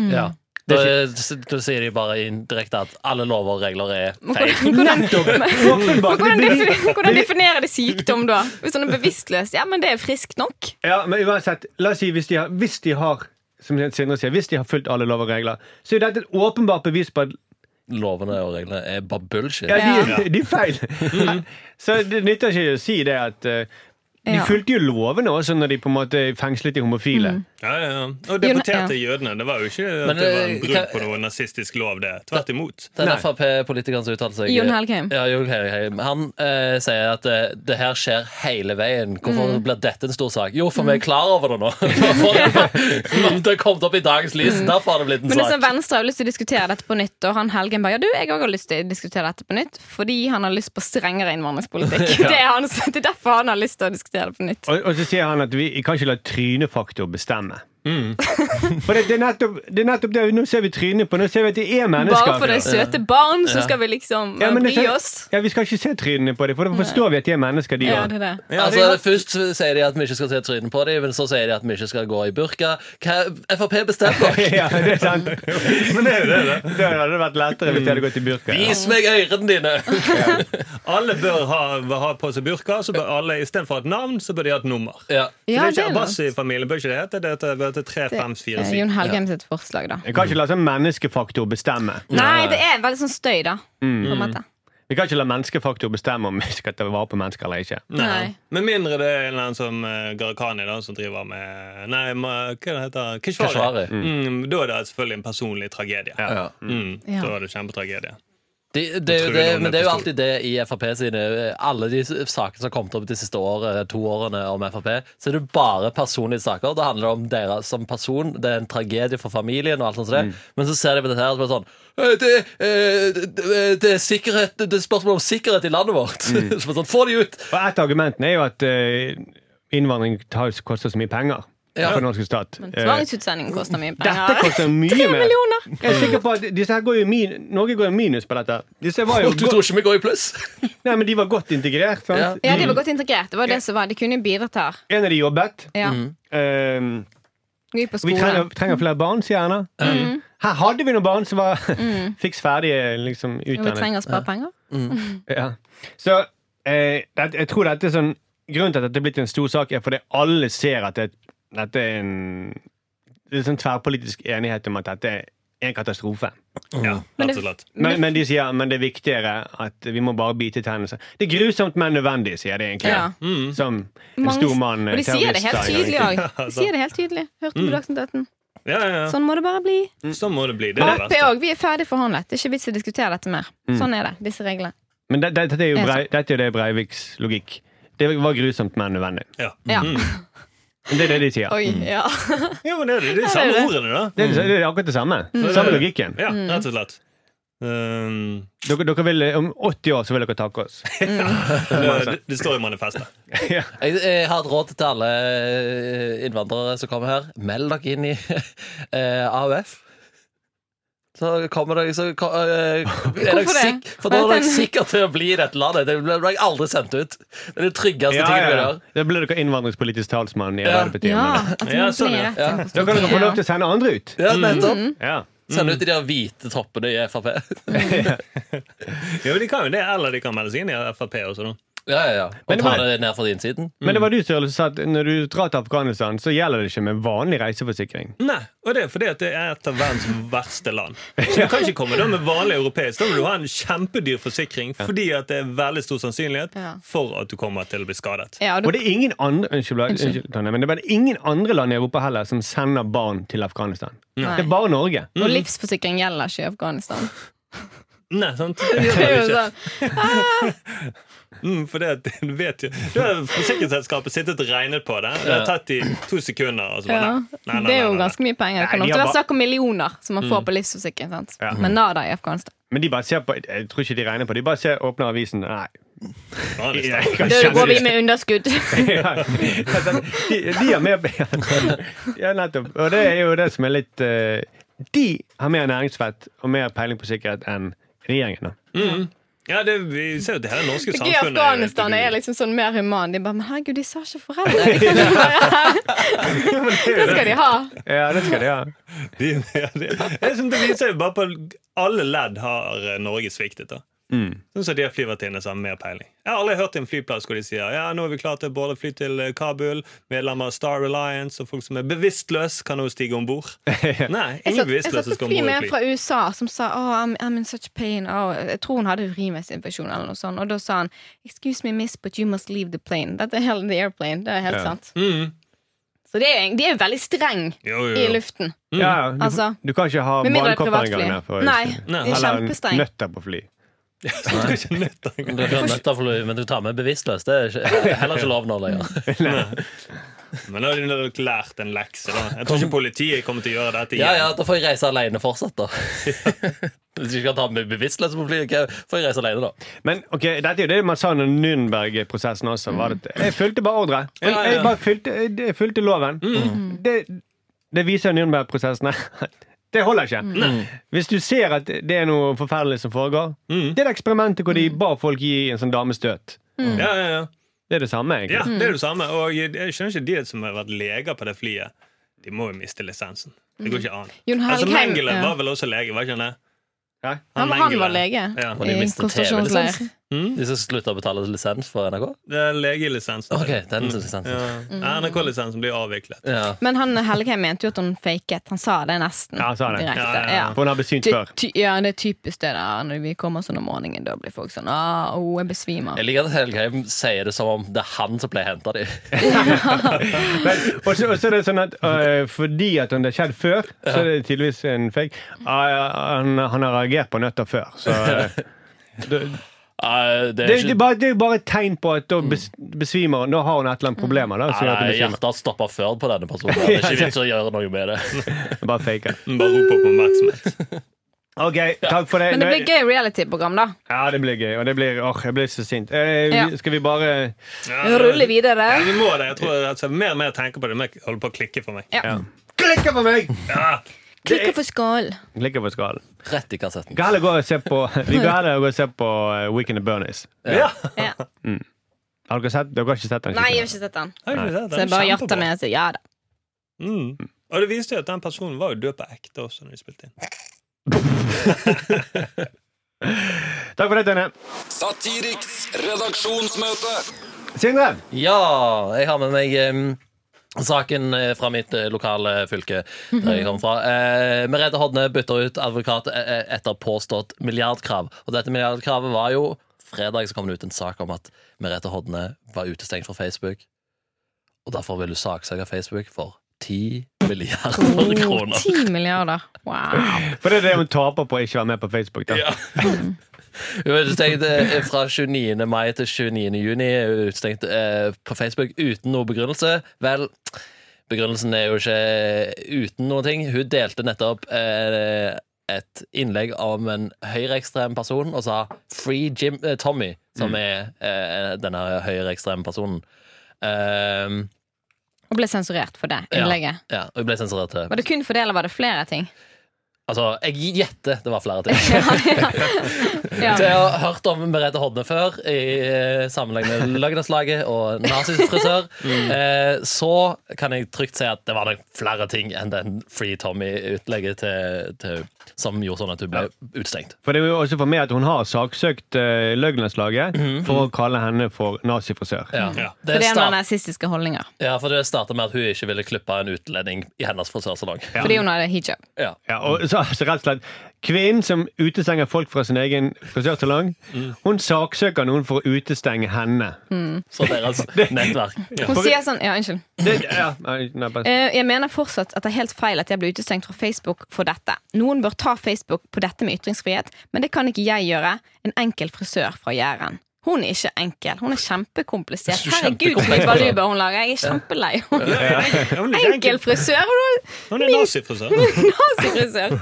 F: Mm.
C: Ja. Da, da sier de bare indirekte at alle lover og regler er feil.
F: Hvordan,
E: Åpenbart!
F: hvordan,
E: det bevi-
F: defi- hvordan definerer de sykdom, da? Hvis han er bevisstløs? Ja, men det er friskt nok.
E: Ja, men uansett, la oss si hvis de har, hvis de har som Sindre sier, hvis de har fulgt alle lover og regler, så er dette et åpenbart bevis på at
C: Lovene og reglene er bare bullshit.
E: ja, de,
B: Ja.
E: de er feil. Så det nytter ikke å si det at eh, de
F: Mm. Ja. Mm.
E: fulgte jo lovene også når de på en måte fengslet de homofile.
B: Ja, ja, ja. Og deporterte jødene. Det var jo ikke at
C: Men,
B: det var
C: eh,
B: en brudd
C: hva-
B: på noe nazistisk lov, det. Tvert imot.
C: Den
E: Nei.
C: Frp-politikeren som uttalte seg
F: Jon Helgheim.
C: Ja, Jon Helgheim. Han eh, sier at eh, det her skjer hele veien. Hvorfor
F: Mm.
C: blir dette en stor sak? Jo, for vi er klar over det nå. For det har kommet opp i dagens lys. Derfor har det blitt en
F: Men det er sånn,
C: sak.
F: Venstre har jo lyst til å diskutere dette på nytt, og han Helgen bare ja, du, jeg òg har lyst til å diskutere dette på nytt, fordi han har lyst på strengere innvandringspolitikk. Det, er hans- det er derfor han har lyst til å diskutere det på nytt.
E: Og, og så sier han at vi kan ikke la trynefaktor bestemme.
F: Mm.
E: For det, det, er nettopp, det er nettopp det nå ser vi trynet på. Nå ser vi at de er mennesker.
F: Bare for det er søte barn,
C: Ja.
F: så skal vi liksom
E: Ja,
F: eh,
E: men det
F: bry
E: ser-
F: oss.
E: Ja, Vi skal ikke se trynene på dem, for da forstår vi at de er mennesker, de
F: Ja,
E: òg.
F: det er det.
C: altså, Først sier de at vi ikke skal se trynet på dem, men så sier de at vi ikke skal gå i burka. Hva Frp bestemmer dere!
E: Ja, det er sant. Men det, det, hadde vært lettere hvis de hadde gått i burka.
C: Vis meg ørene dine!
B: Alle bør ha, ha på seg burka. Så bør alle, Istedenfor et navn, så bør de ha et nummer.
C: Ja.
B: så det
F: Ja,
B: er ikke Abbas
F: det
B: i familien. Bør ikke det hete det? heter- bør hete tre, fem, fire,
F: er
B: syv.
F: Jon Helgheim sitt forslag, da.
E: Vi kan ikke la sånn menneskefaktor bestemme.
F: Nei, det er veldig sånn støy, da. På en måte.
E: Vi kan ikke la menneskefaktor bestemme om vi skal ta vare på mennesker eller ikke.
F: Nei.
B: Med mindre det er en eller annen som eh, Gharahkhani, da, som driver med Nei, ma- hva det heter det? Keshvari.
C: Keshvari.
B: Mm, da er det selvfølgelig en personlig tragedie. Mm,
F: Ja.
B: Da er det kjempetragedie.
C: De, det, er jo
B: tror
C: det,
B: noen
C: men det er jo
B: forstår.
C: alltid det i Frp sine Alle de sakene som har kommet opp de siste året, to årene om Frp, så er det bare personlige saker. Det handler om dere som person. Det er en tragedie for familien. og alt sånt som
F: Mm.
C: det. Men så ser de på dette her og så er det sånn «Eh, det, eh, det, det er sikkerhet Det er spørsmål om sikkerhet i landet vårt!
F: Mm.
C: Så bare sånn, Få de ut!
E: Og et av argumentene er jo at eh, innvandring tar, koster så mye penger.
C: Ja.
E: For den norske stat.
F: Men
E: Eh,
F: Tvangsutsending koster mye
E: dette
F: penger.
E: koster mye
F: Tre
E: mer.
F: millioner!
E: Jeg er sikker på at disse her går jo i min, Norge går i minus på dette. Disse var jo
C: Du tror ikke vi går i pluss?
E: go- nei, men De var godt integrert. Sant?
C: Ja.
F: Ja, de var godt integrert. Det var det som var. De kunne jo bidratt her.
E: En av de jobbet.
F: Ja.
E: Eh,
F: Gå på
E: vi trenger,
F: skolen.
E: trenger flere barn, sier Erna.
F: Mm.
E: Her hadde vi noen barn som var fiks ferdige liksom,
F: Jo, Mm. vi
E: utdannet.
F: trenger å spare penger.
E: Ja. Så eh, det, jeg tror dette er sånn Grunnen til at dette er blitt en stor sak, er fordi alle ser at det, dette er en Det er sånn tverrpolitisk enighet om at dette er en katastrofe.
B: Ja,
F: Mm. Men
B: rett
F: det-
B: og slett.
E: Men, men de sier men det er viktigere at vi må bare bite i tennene. Det er grusomt, men nødvendig, sier de egentlig.
F: Ja.
B: Mm.
E: Som en
F: Mange-
E: stor mann
F: Og de sier det helt
E: terrorist,
F: tydelig
E: sa, egentlig.
F: òg. De sier det helt tydelig. Hørte på Dagsnytt 18.
B: Ja, Mm. ja, ja.
F: Sånn må det bare bli.
B: Sånn må det bli. Det er det
F: Ap
B: verste. Mm.
F: òg. Vi er ferdig forhandlet. Det er ikke vits å diskutere dette mer. Sånn er det. Disse reglene.
E: Men det, det, dette er jo
F: Ja,
E: Brei, dette er jo det Breiviks logikk. Det var grusomt, men nødvendig.
B: Ja.
F: Ja.
B: Mm.
E: Det er det de sier.
F: Oi, ja.
B: Jo, men det er de samme
F: det.
B: ordene, da.
E: Det er, det er akkurat det samme.
F: Mm.
E: Samme logikken.
B: Ja, rett og slett. Um,
E: Dere, dere vil, eh, om 80 år så vil dere takke oss.
B: det, det står i manifestet.
E: ja.
C: Jeg, jeg har et råd til alle eh, innvandrere som kommer her. Meld dere inn i eh, AUF. Så kommer dere så ko- eh, er dere
F: Hvorfor det?
C: sikk- For da er
F: Vent,
C: dere
F: den-
C: sikre til å bli i dette landet. Det blir dere aldri sendt ut. Det er det tryggeste
E: Ja,
C: tingen
E: ja,
C: vi
E: ja.
C: gjør.
E: Da blir dere innvandringspolitisk talsmann i
C: Ja.
E: Arbeiderpartiet.
F: ja.
E: men-
F: At
B: Ja,
F: man
B: sånn,
F: blir
B: ja.
F: rett inn på
E: Da kan dere få lov til
F: Stortinget.
E: å sende andre ut.
C: Ja,
F: Mm.
C: nettopp.
E: Ja.
C: Send ut de der hvite toppene i Frp.
B: Ja, men de kan jo det, Eller de kan melde seg inn i Frp også, da.
C: Ja, ja, ja.
E: Men
C: Og
E: det
C: ta
E: var-
C: det ned fra din siden.
E: Men det var du Sørle, som sa at når du drar til Afghanistan, så gjelder det ikke med vanlig reiseforsikring.
B: Nei, og det er fordi at det er et av verdens verste land. Så du kan ikke komme da med vanlig europeisk. Da må du ha en kjempedyr forsikring fordi at det er veldig stor sannsynlighet
F: Ja.
B: for at du kommer til å bli skadet.
F: Ja, og
E: Og
F: du,
E: det er ingen andre, unnskyld, Blaug- unnskyld, Tonje, men det er bare ingen andre land i Europa heller som sender barn til Afghanistan.
F: Nei.
E: Det er bare Norge.
F: og
B: mm.
F: livsforsikring gjelder ikke i Afghanistan.
B: Nei, sant? Det gjør man
F: Det er jo
B: ikke.
F: sånn.
B: Mm, for det, at du vet jo Da har forsikringsselskapet sittet og regnet på det. Det har tatt i to sekunder. Og så bare,
F: Ja.
B: nei, nei, nei,
F: Det er
B: nei,
F: jo
B: nei.
F: ganske mye penger. Det kan
E: Nei, de
F: ofte
E: har
F: være
E: ba-
F: snakk om millioner som man
B: Mm.
F: får på livsforsikring. Sant?
E: Ja.
F: Men nada i Afghanistan.
E: Men de bare ser på Jeg tror ikke de regner på det. De bare ser, åpner avisen. Nei.
B: Ja, det
E: Jeg
B: stemmer.
E: kan
F: Da
E: kjenne
F: går vi
E: det.
F: med underskudd.
E: Ja. altså, De, de har med Ja, nettopp. Og det er jo det som er litt eh, De har mer næringsfett og mer peiling på sikkerhet enn regjeringen. da.
B: Ja, det, vi ser jo at det hele norske
F: I
B: samfunnet
F: Afghanistan er liksom sånn mer human. De bare 'Men herregud, de sa ikke foreldre'. De kan ikke være her. Det skal de ha.
E: Ja, det skal de ha.
B: De, ja, de, jeg synes det viser jo bare på Alle ledd har eh, Norge sviktet. da
C: Mm.
B: Sånn som de har flyvertinner som har mer peiling. Jeg har aldri hørt til en flyplass hvor de sier ja, nå er vi klare til å både fly til eh, Kabul, medlemmer av Star Alliance og folk som er bevisstløse, kan nå stige om bord. Nei,
F: Jeg
B: ingen
F: satt, jeg satt
B: bevisstløse
F: på
B: skal om
F: fly
B: bord
F: med
B: i
F: en
B: fly.
F: fra USA som sa oh, I'm, I'm in such pain. Oh, jeg tror hun hadde urinveisinfeksjon eller noe sånt. Og da sa han Excuse me, miss, but you must leave the plane. Dette er hele the airplane. Det er helt
E: Ja.
F: sant.
B: Mm.
F: Så det er, de er jo veldig streng
B: Jo, jo,
F: i
B: jo.
F: luften.
E: Ja, ja. du,
F: Altså,
E: du kan ikke ha
F: Med mindre det er
E: vannkopper engang. der,
F: privatfly.
E: for-
F: Nei,
B: Nei.
F: de er
E: Eller
F: kjempestreng.
E: nøtter på fly.
B: Du er ikke nødt til
C: Du
B: engang.
C: kan nødt til å fly, Men du tar med bevisstløs. Det er ikke, heller ikke lov nå lenger.
B: Men da har de nok lært en lekse. da Jeg tror ikke politiet kommer til å gjøre dette
C: Ja,
B: igjen.
C: ja, da får jeg reise alene fortsatt, da. Hvis jeg ikke kan ta med bevisstløse på flyet, hva- får jeg reise alene, da.
E: Men ok, dette er jo det man sa under Nürnberg-prosessen også. Var det, at jeg fulgte bare ordre.
B: Mm. Ja, Mm. ja.
E: Jeg bare fulgte, jeg fulgte loven. Det, det viser Nürnberg-prosessene. Det holder ikke. Hvis du ser at det er noe forferdelig som foregår
B: Mm.
E: Det er det eksperimentet hvor de ba folk gi en sånn damestøt.
F: Mm.
B: Ja, ja, ja.
E: Det er det samme,
B: ja,
E: egentlig.
B: det er det samme. Og jeg, jeg skjønner ikke de som har vært leger på det flyet. De må jo miste lisensen. Det går ikke an.
F: Jon
B: Altså,
F: Helgheim,
B: Mengele
F: ja.
B: var vel også lege, var ikke han det?
E: Ja.
F: Han, han var
B: Mengele.
F: lege
B: Ja.
C: Og
F: i
C: de mister
F: konsentrasjonsleir.
C: TV-lisensen.
B: Mm?
C: De som slutter å betale lisens for NRK?
B: Det er legelisensen.
C: Ok, den lisensen.
B: Ja.
F: Mm.
B: NRK-lisensen blir avviklet.
C: Ja.
F: Men han Helgheim mente jo at hun faket. Han sa det nesten
E: Ja, han sa det.
F: direkte.
B: Ja, ja, ja.
F: ja.
E: For hun har besynt
F: Det,
E: før.
F: ty, ja, det er typisk det der når vi kommer sånn om morgenen. Da blir folk sånn ah, oh, jeg besvimer.
C: Jeg liker at Helgheim sier det som om det er han som ble henta de.
E: Men, og, så, og så er det sånn at øh, fordi at det har skjedd før, så er det tydeligvis en fake. Ah, ja, han, han har reagert på nøtter før, så øh, det,
C: Eh, det
E: det,
C: er
E: det, er
C: ikke
E: bare, det er bare et tegn på at da bes, besvimer Nå har hun et eller annet problem. Da, som gjør at hun
C: Mm. Nei,
E: besvimer.
C: Hjertet har stoppa før på denne personen. Det er ikke vits å gjøre noe med det.
E: Bare fake.
C: Mm.
E: det.
B: Bare rop opp oppmerksomhet.
E: Ok, takk for det.
F: Men det
E: Nå-
F: blir gøy reality-program, da.
E: Ja, det blir gøy. Og det blir, åh, jeg blir så sint. Eh, vi-
F: Ja.
E: Skal vi bare
B: Ja,
F: Rulle videre.
B: Ja, vi må det. Jeg tror altså, Mer og mer jeg tenker på det, mer holder på å klikke for meg.
F: Ja.
E: Klikke på meg!
B: Ja.
F: Klikke for skål.
E: Klikke på skallen.
C: Rett i kassetten.
E: Skal heller gå og se på Vi bør heller gå og se på eh, Weekend at Bernies.
B: Ja.
F: Ja.
E: Har dere sett? Dere har ikke sett den?
F: Nei, jeg har
E: skikkelig?
F: ikke sett den.
B: Har du ikke sett? Den
F: Så jeg bare
B: er
F: jatter
B: kjempebra.
F: med og sier ja da.
B: Mm. Og det viste jo at den personen var jo død på ekte også når de spilte inn.
E: Takk for det, Tønne.
D: Satiriks redaksjonsmøte.
E: Sindre!
C: Ja, jeg har med meg em, saken eh, fra mitt eh, lokale fylke der jeg kommer fra. Eh, Merete Hodne bytter ut advokat eh, etter påstått milliardkrav. Og dette milliardkravet var jo Fredag så kom det ut en sak om at Merete Hodne var utestengt fra Facebook. Og derfor vil hun saksøke Facebook for 10 milliarder kroner.
F: Ti milliarder. Wow.
E: For det er det hun taper på å ikke være med på Facebook. Da.
B: Ja.
C: Hun er utestengt eh, fra 29. mai til 29. juni er hun utestengt eh, på Facebook uten noe begrunnelse. Vel, begrunnelsen er jo ikke eh, uten noen ting. Hun delte nettopp eh, et innlegg om en høyreekstrem person og sa 'Free Jim eh, Tommy',
F: Mm.
C: som er eh, denne høyreekstreme personen. Ehm,
F: Og ble sensurert for det
C: ja,
F: innlegget.
C: ja, og hun ble sensurert til.
F: Var det kun for det, eller var det flere ting?
C: Altså, jeg gjetter det var flere ting.
F: Ja.
C: Så jeg har hørt om Merete Hodne før, i eh, sammenheng med Løgneslaget og nazifrisør. eh, så kan jeg trygt si at det var nok flere ting enn den Free Tommy-utlegget til, til, som gjorde sånn at hun ble utestengt.
E: For det er jo også for meg at hun har saksøkt uh, Løgneslaget for å kalle henne for nazifrisør.
C: Mhm. Ja.
F: For
C: Det
F: det er noen
C: start,
F: nazistiske holdninger.
C: ja, for det starta med at hun ikke ville klippe en utlending i hennes frisørsalong.
F: Fordi hun hadde hijab.
C: Ja.
E: Ja, og så, så rett og slett Kvinnen som utestenger folk fra sin egen frisørsalong, hun saksøker noen for å utestenge henne.
C: Så deres nettverk.
F: Hun sier sånn Ja, unnskyld.
E: Det, ja, nei, nei, bare-
F: Eh, Jeg mener fortsatt at det er helt feil at jeg ble utestengt fra Facebook for dette. Noen bør ta Facebook på dette med ytringsfrihet, men det kan ikke jeg gjøre. En enkel frisør fra Jæren. Hun er ikke enkel. Hun er kjempekomplisert.
C: Du er
F: Herregud, for
C: kjempekomplisert.
F: en baluba hun lager. Jeg er kjempelei. Hun er
B: Ja, Hun er ikke
F: Enkel
B: enkel.
F: frisør! og
B: Hun er nazifrisør.
F: du er Nazifrisør.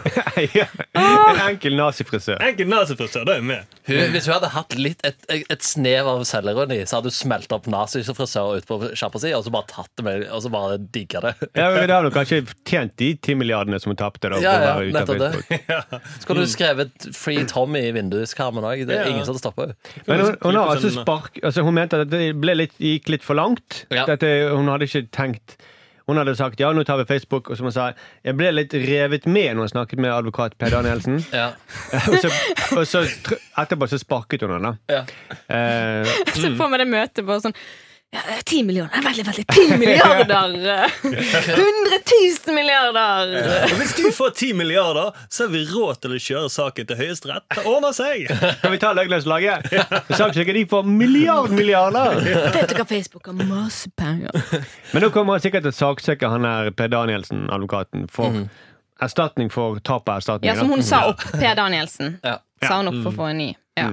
E: Ja. En enkel nazifrisør.
B: Enkel nazifrisør, det er jo med.
C: Hun, hvis hun hadde hatt litt et, et snev av selvironi, så hadde hun smelta opp nazifrisører ute på sjappa si og så bare tatt det med, og så bare digga det.
E: Ja, men Da har du kanskje tjent de ti milliardene som hun tapte. da, på
C: Ja,
E: å
C: ja,
E: være ute av
C: nettopp det.
E: Facebook.
C: Skulle du skrevet 'Free Tommy' i vinduskarmen òg? Det
B: Mm.
C: er
B: Ja.
C: ingen som stopper henne.
E: Men hun, hun,
B: Klippe
E: har altså
B: sendene.
E: spark, altså hun mente at det ble litt, gikk litt for langt.
C: Ja.
E: Dette, hun hadde ikke tenkt Hun hadde sagt ja, nå tar vi Facebook. Og som hun sa, jeg ble litt revet med når hun snakket med advokat Per Danielsen.
C: Ja.
E: og så, og så tr- etterpå så sparket hun henne.
C: Ja.
E: Eh,
F: Så får vi det møtet bare sånn ja, det er 10 millioner, Nei, veldig, veldig, 10 milliarder! 100 000 milliarder!
B: Og hvis du får ti milliarder, så er vi råd til å kjøre saken til Høyesterett. Det ordner seg!
E: kan vi ta Løglandslaget? Saksøker de for milliard milliarder!
F: Vet du hva Facebook har masse penger?
E: Men nå kommer han sikkert til å saksøke han her Per Danielsen, advokaten, for erstatning for tap av erstatning.
F: Mhm. Ja, som hun sa opp Per Danielsen.
C: Ja.
F: Sa hun opp for å få en ny. Ja.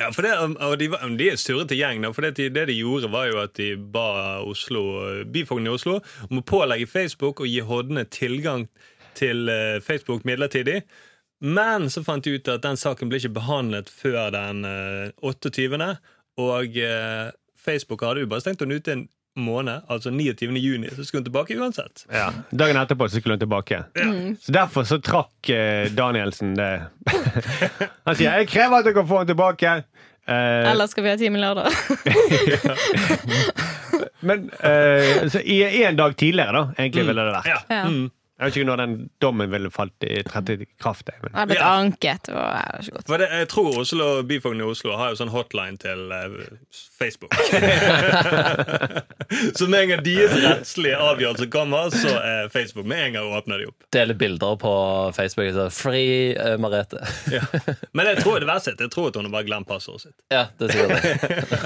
B: Ja, for det, um, og de, var- de er surrete gjeng, da. For det de, det de gjorde, var jo at de ba Oslo, uh, byfogden i Oslo om å pålegge Facebook å gi Hodne tilgang til eh, Facebook midlertidig. Men så fant de ut at den saken ble ikke behandlet uh, før den eh, 28. Og eh, Facebook hadde uh, jo bare stengt henne ute en måned, altså 29. juni, så skulle hun tilbake uansett.
E: Ja. Dagen etterpå så skulle hun tilbake.
F: Mm.
E: Så Derfor så trakk eh, Danielsen det. Han sier 'jeg krever at dere får henne tilbake'. Eh,
F: Eller skal vi ha time lørdag?
E: men eh, så i en dag tidligere, da, egentlig ville det vært.
B: Ja.
F: Ja.
B: Mm.
E: Jeg vet ikke når den dommen ville falt i trådt
F: Mm.
E: i kraft. jeg, Men.
F: Det hadde blitt
B: Ja.
F: anket. Og, nei, det er ikke godt.
B: For det, jeg tror Oslo, byfogden i Oslo har jo sånn hotline til eh, Facebook. så med en gang deres rettslige avgjørelse kommer, så er Facebook med en gang åpner de opp.
C: Deler bilder på Facebook. Så, Fri eh, Merete.
B: Ja. Men jeg tror det verste er at jeg tror at hun har bare glemt passordet sitt.
C: Ja, det sier det.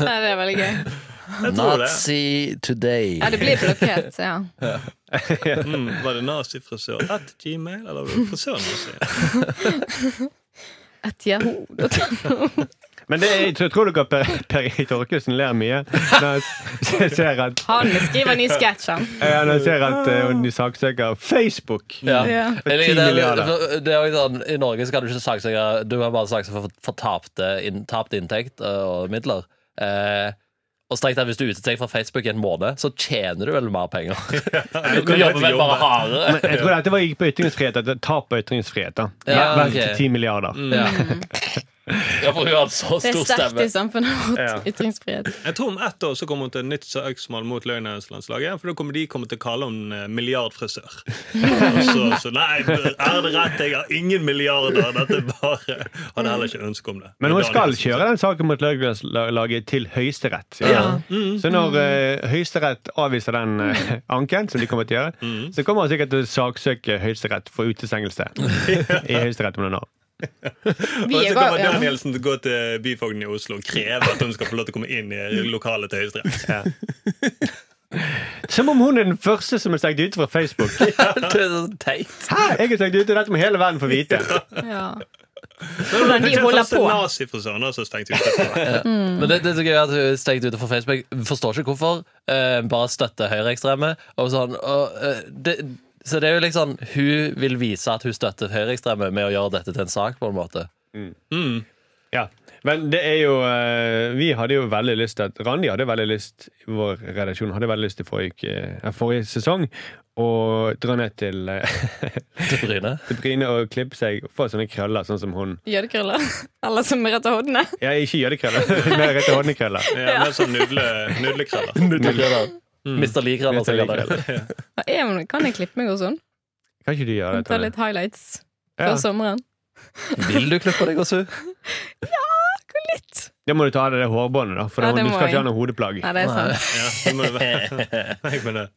F: Nei, det er veldig gøy.
B: Jeg tror det.
C: Nazi today.
F: Ja, det blir blokkert. Ja.
B: Mm, var det nazifrisør? At gmail, eller var det frisøren vår sier?
F: Et Yahoo.
E: Men det, jeg tror, tror dere Per, per Erik Torkelsen ler mye når han ser at,
F: Han skriver ny sketsj, han.
E: eh, når han ser at eh, hun saksøker Facebook.
C: Ja.
F: Ja.
E: For
C: Eller,
E: 10 milliarder.
C: det, det, det er jo sånn, I Norge så kan du ikke saksøke Du kan bare saksøke for, for tapte inn, tapt inntekt øh, og midler. Eh, og strengt tatt, Hvis du utestenges fra Facebook i en måned, så tjener du vel mer penger. du
B: kan ikke
C: jobber vel bare
B: jobbe.
C: hardere.
E: Jeg tror dette var gikk på ytringsfrihet. At det er tap på ytringsfrihet. da
C: Ja,
E: Verdt
C: ok. Mm.
E: 10 milliarder.
C: Ja. ja, for hun har så
F: Det er
C: stor
F: sterkt
C: stemme.
F: i samfunnet
E: Ja.
F: vårt. Ytringsfrihet.
B: Jeg tror om ett år så kommer hun til et nytt søksmål mot Løgnlandslandslaget. For da kommer de kommer til å kalle henne eh, milliardfrisør. Og så, så nei, er det rett? Jeg har ingen milliarder. Dette er bare Hadde heller ikke ønske om det.
E: Men hun
B: Daniel
E: skal
B: Hansen
E: kjøre den saken mot Løglandslaget til Høyesterett. sier
C: Ja. Mm.
E: han. Så når eh, Høyesterett avviser den eh, anken, som de kommer til å gjøre,
C: Mm.
E: så kommer han sikkert til å saksøke Høyesterett for utestengelse i Høyesterett om noen år.
B: sa.
F: Vi
B: Og så
F: er bare,
B: kommer
F: ja.
B: Danielsen til å gå til byfogden i Oslo og kreve at hun skal få lov til å komme inn i lokalet til Høyesterett.
E: Som om hun er den første som er stengt ute fra Facebook.
C: Det er så teit.
E: Hæ? Jeg er stengt ute, dette må hele verden få vite.
F: Ja. Hvordan de holder på.
B: Nazifrisøren også stengt ute.
C: Men det, det er så gøy at hun er stengt ute fra Facebook. Forstår ikke hvorfor. eh, bare støtter høyreekstreme. Og sånn, og, eh, det, så det er jo liksom Hun vil vise at hun støtter høyreekstreme med å gjøre dette til en sak, på en måte.
E: Ja. Men det er jo eh, Vi hadde jo veldig lyst til at Randi hadde veldig lyst vår redaksjon hadde veldig lyst til forrige, uke, eh, forrige sesong å dra ned til, eh,
C: Til Bryne.
E: til Bryne og klippe seg og få sånne krøller, sånn som hun.
F: Jødekrøller. Alle som retter hodene.
E: Ja, ikke jødekrøller, men rett og håndekrøller.
B: Ja, med sånn nudle- nudlekrøller.
C: Mr. Likrøller.
E: Mr. Lee Krøller.
F: Hva er det? Kan jeg klippe meg og sånn?
E: Kan ikke du gjøre det?
F: Ta
E: Tonje?
F: litt highlights
E: Ja.
F: før sommeren.
C: Vil du klippe deg også?
F: Hvor litt?
E: Da må du ta av deg det hårbåndet, da. For
F: Ja,
E: det-
F: det
E: du
F: må
E: skal
F: jeg.
E: ikke ha noe hodeplagg.
F: Nei, det er sant.
B: Ja, det må det være. Nei, men det-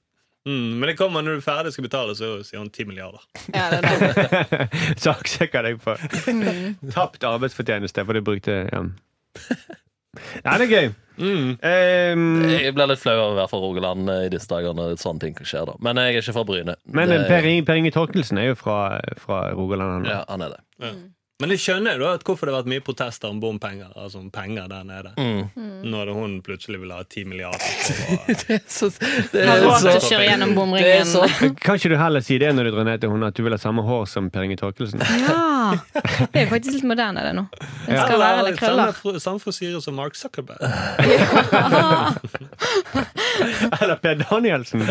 B: Mm, men det kommer når du er ferdig skal betale, så sier han 10 milliarder.
F: Ja, det er det.
E: Saksøker deg for
F: Mm.
E: tapt arbeidsfortjeneste, for du brukte ja. Nei, det er gøy. Ehm,
C: Jeg blir litt flau over å være fra Rogaland eh, i disse dager når sånne ting skjer. da Men jeg er ikke fra Bryne.
E: Men
C: Det-
E: per, Inge, per Inge Torkelsen er jo fra, fra Rogaland. han.
C: ja, han er det.
B: Men jeg skjønner jo da at hvorfor det har vært mye protester om bompenger. Altså om penger der nede
F: Mm.
B: Når hun plutselig vil ha 10 milliarder. for å-
C: Så, det
F: Har
C: er
F: råd
C: så,
F: til å kjøre gjennom
C: det er
F: bomringen.
C: så
E: Kan ikke du heller si det når du drar ned til hun at du vil ha samme hår som Per Inge Torkelsen?
F: Ja. Det er jo faktisk litt moderne, det nå. Det skal være
B: Eller
F: litt krøller.
B: samme, samme frisyre som Mark Zuckerberg.
E: Eller Per Danielsen?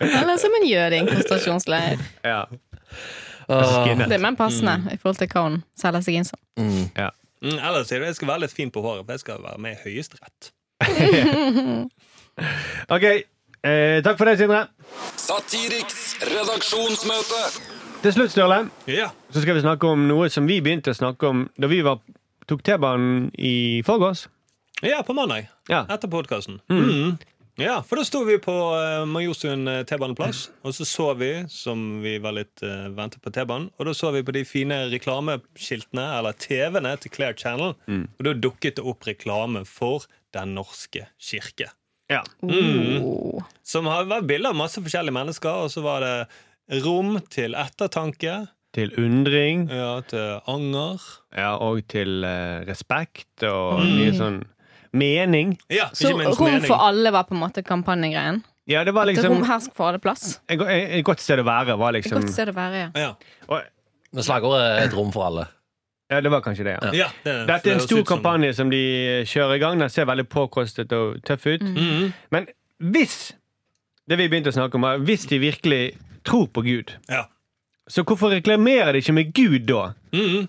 F: Eller som en jøde i en konsentrasjonsleir.
E: Ja.
C: Åh,
F: Det
E: Skinnet.
F: er mer passende i forhold til hva hun selger seg inn som.
E: Ja.
B: Mm, eller sier du jeg skal være litt fin på håret, for jeg skal være med i Høyesterett.
E: Ok, eh, takk for det, Sindre.
D: Satiriks redaksjonsmøte.
E: Til slutt, Sturle,
B: Ja.
E: så skal vi snakke om noe som vi begynte å snakke om da vi var, tok T-banen i forgårs.
B: ja, på mandag.
E: Ja.
B: Etter podkasten. Mm. Ja, for da sto vi på uh, Majorstuen eh, T-baneplass,
E: Mm.
B: og så så vi, som vi var litt eh, ventet på T-banen, og da så vi på de fine reklameskiltene, eller TV-ene, til Clair Channel,
E: Mm.
B: og da dukket det opp reklame for Den norske kirke.
E: Ja.
F: Oh.
B: Som har vært bilder av masse forskjellige mennesker, og så var det rom til ettertanke,
E: Til undring
B: ja, til anger.
E: ja, og til eh, respekt og
C: Mm.
E: mye sånn mening.
B: Ja,
F: Så
B: ikke minst
F: Rom
B: mening.
F: for alle var på en måte kampanjegreien.
E: Ja, det var
F: At
E: liksom
F: rom her skal få alle plass.
E: Et go- et godt sted å være var
F: Et
E: liksom
F: godt sted å være, ja.
B: Ja,
E: Og-
C: Men slagordet er et rom for alle.
E: Ja, det var kanskje det, ja.
B: ja, det,
E: Dette er en
B: det høres
E: stor
B: ut som-
E: kampanje som de kjører i gang. Den ser veldig påkostet og tøff ut.
B: Mhm.
E: Men Hvis det vi begynte å snakke om her, hvis de virkelig tror på Gud,
B: Ja.
E: så hvorfor reklamerer de ikke med Gud da?
B: Mm.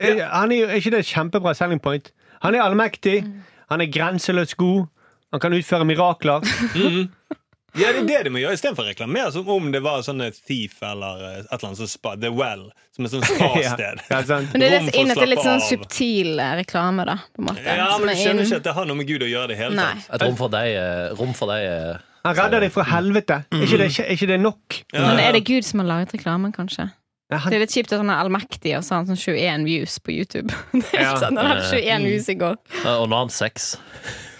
E: Er, han er, jo- er ikke det et kjempebra selling point? Han er allmektig, han er grenseløst god, han kan utføre mirakler.
B: Ja, det er det de må gjøre istedenfor å reklamere som om det var sånne Thief eller eh, et eller annet som spa, The Well, som er sånn spa-sted.
E: Ja, sant?
F: Men det er det
B: Rom
F: som
B: for å
F: inn at det er litt
B: slappe
F: sånn
B: av.
F: subtil eh, reklame, da. På en måte,
B: Ja,
F: som
B: men
F: er
B: du skjønner
F: inn-
B: ikke at det har noe med Gud å gjøre i det hele
F: Nei.
B: tatt.
C: Et rom for deg er Rom for deg eh, er
E: Han redder deg fra
B: Mm.
E: helvete. Er ikke det, er ikke det nok?
B: Ja,
F: Men
B: ja.
F: er det Gud som har laget reklamen, kanskje?
E: Nei,
F: Det
E: han,
F: er litt kjipt at han er allmektig og så har han sånn 21 views på YouTube. Det er
E: Ja.
F: sånn, Han hadde 21 views i går.
C: Ja, Eh, Og nå har han seks.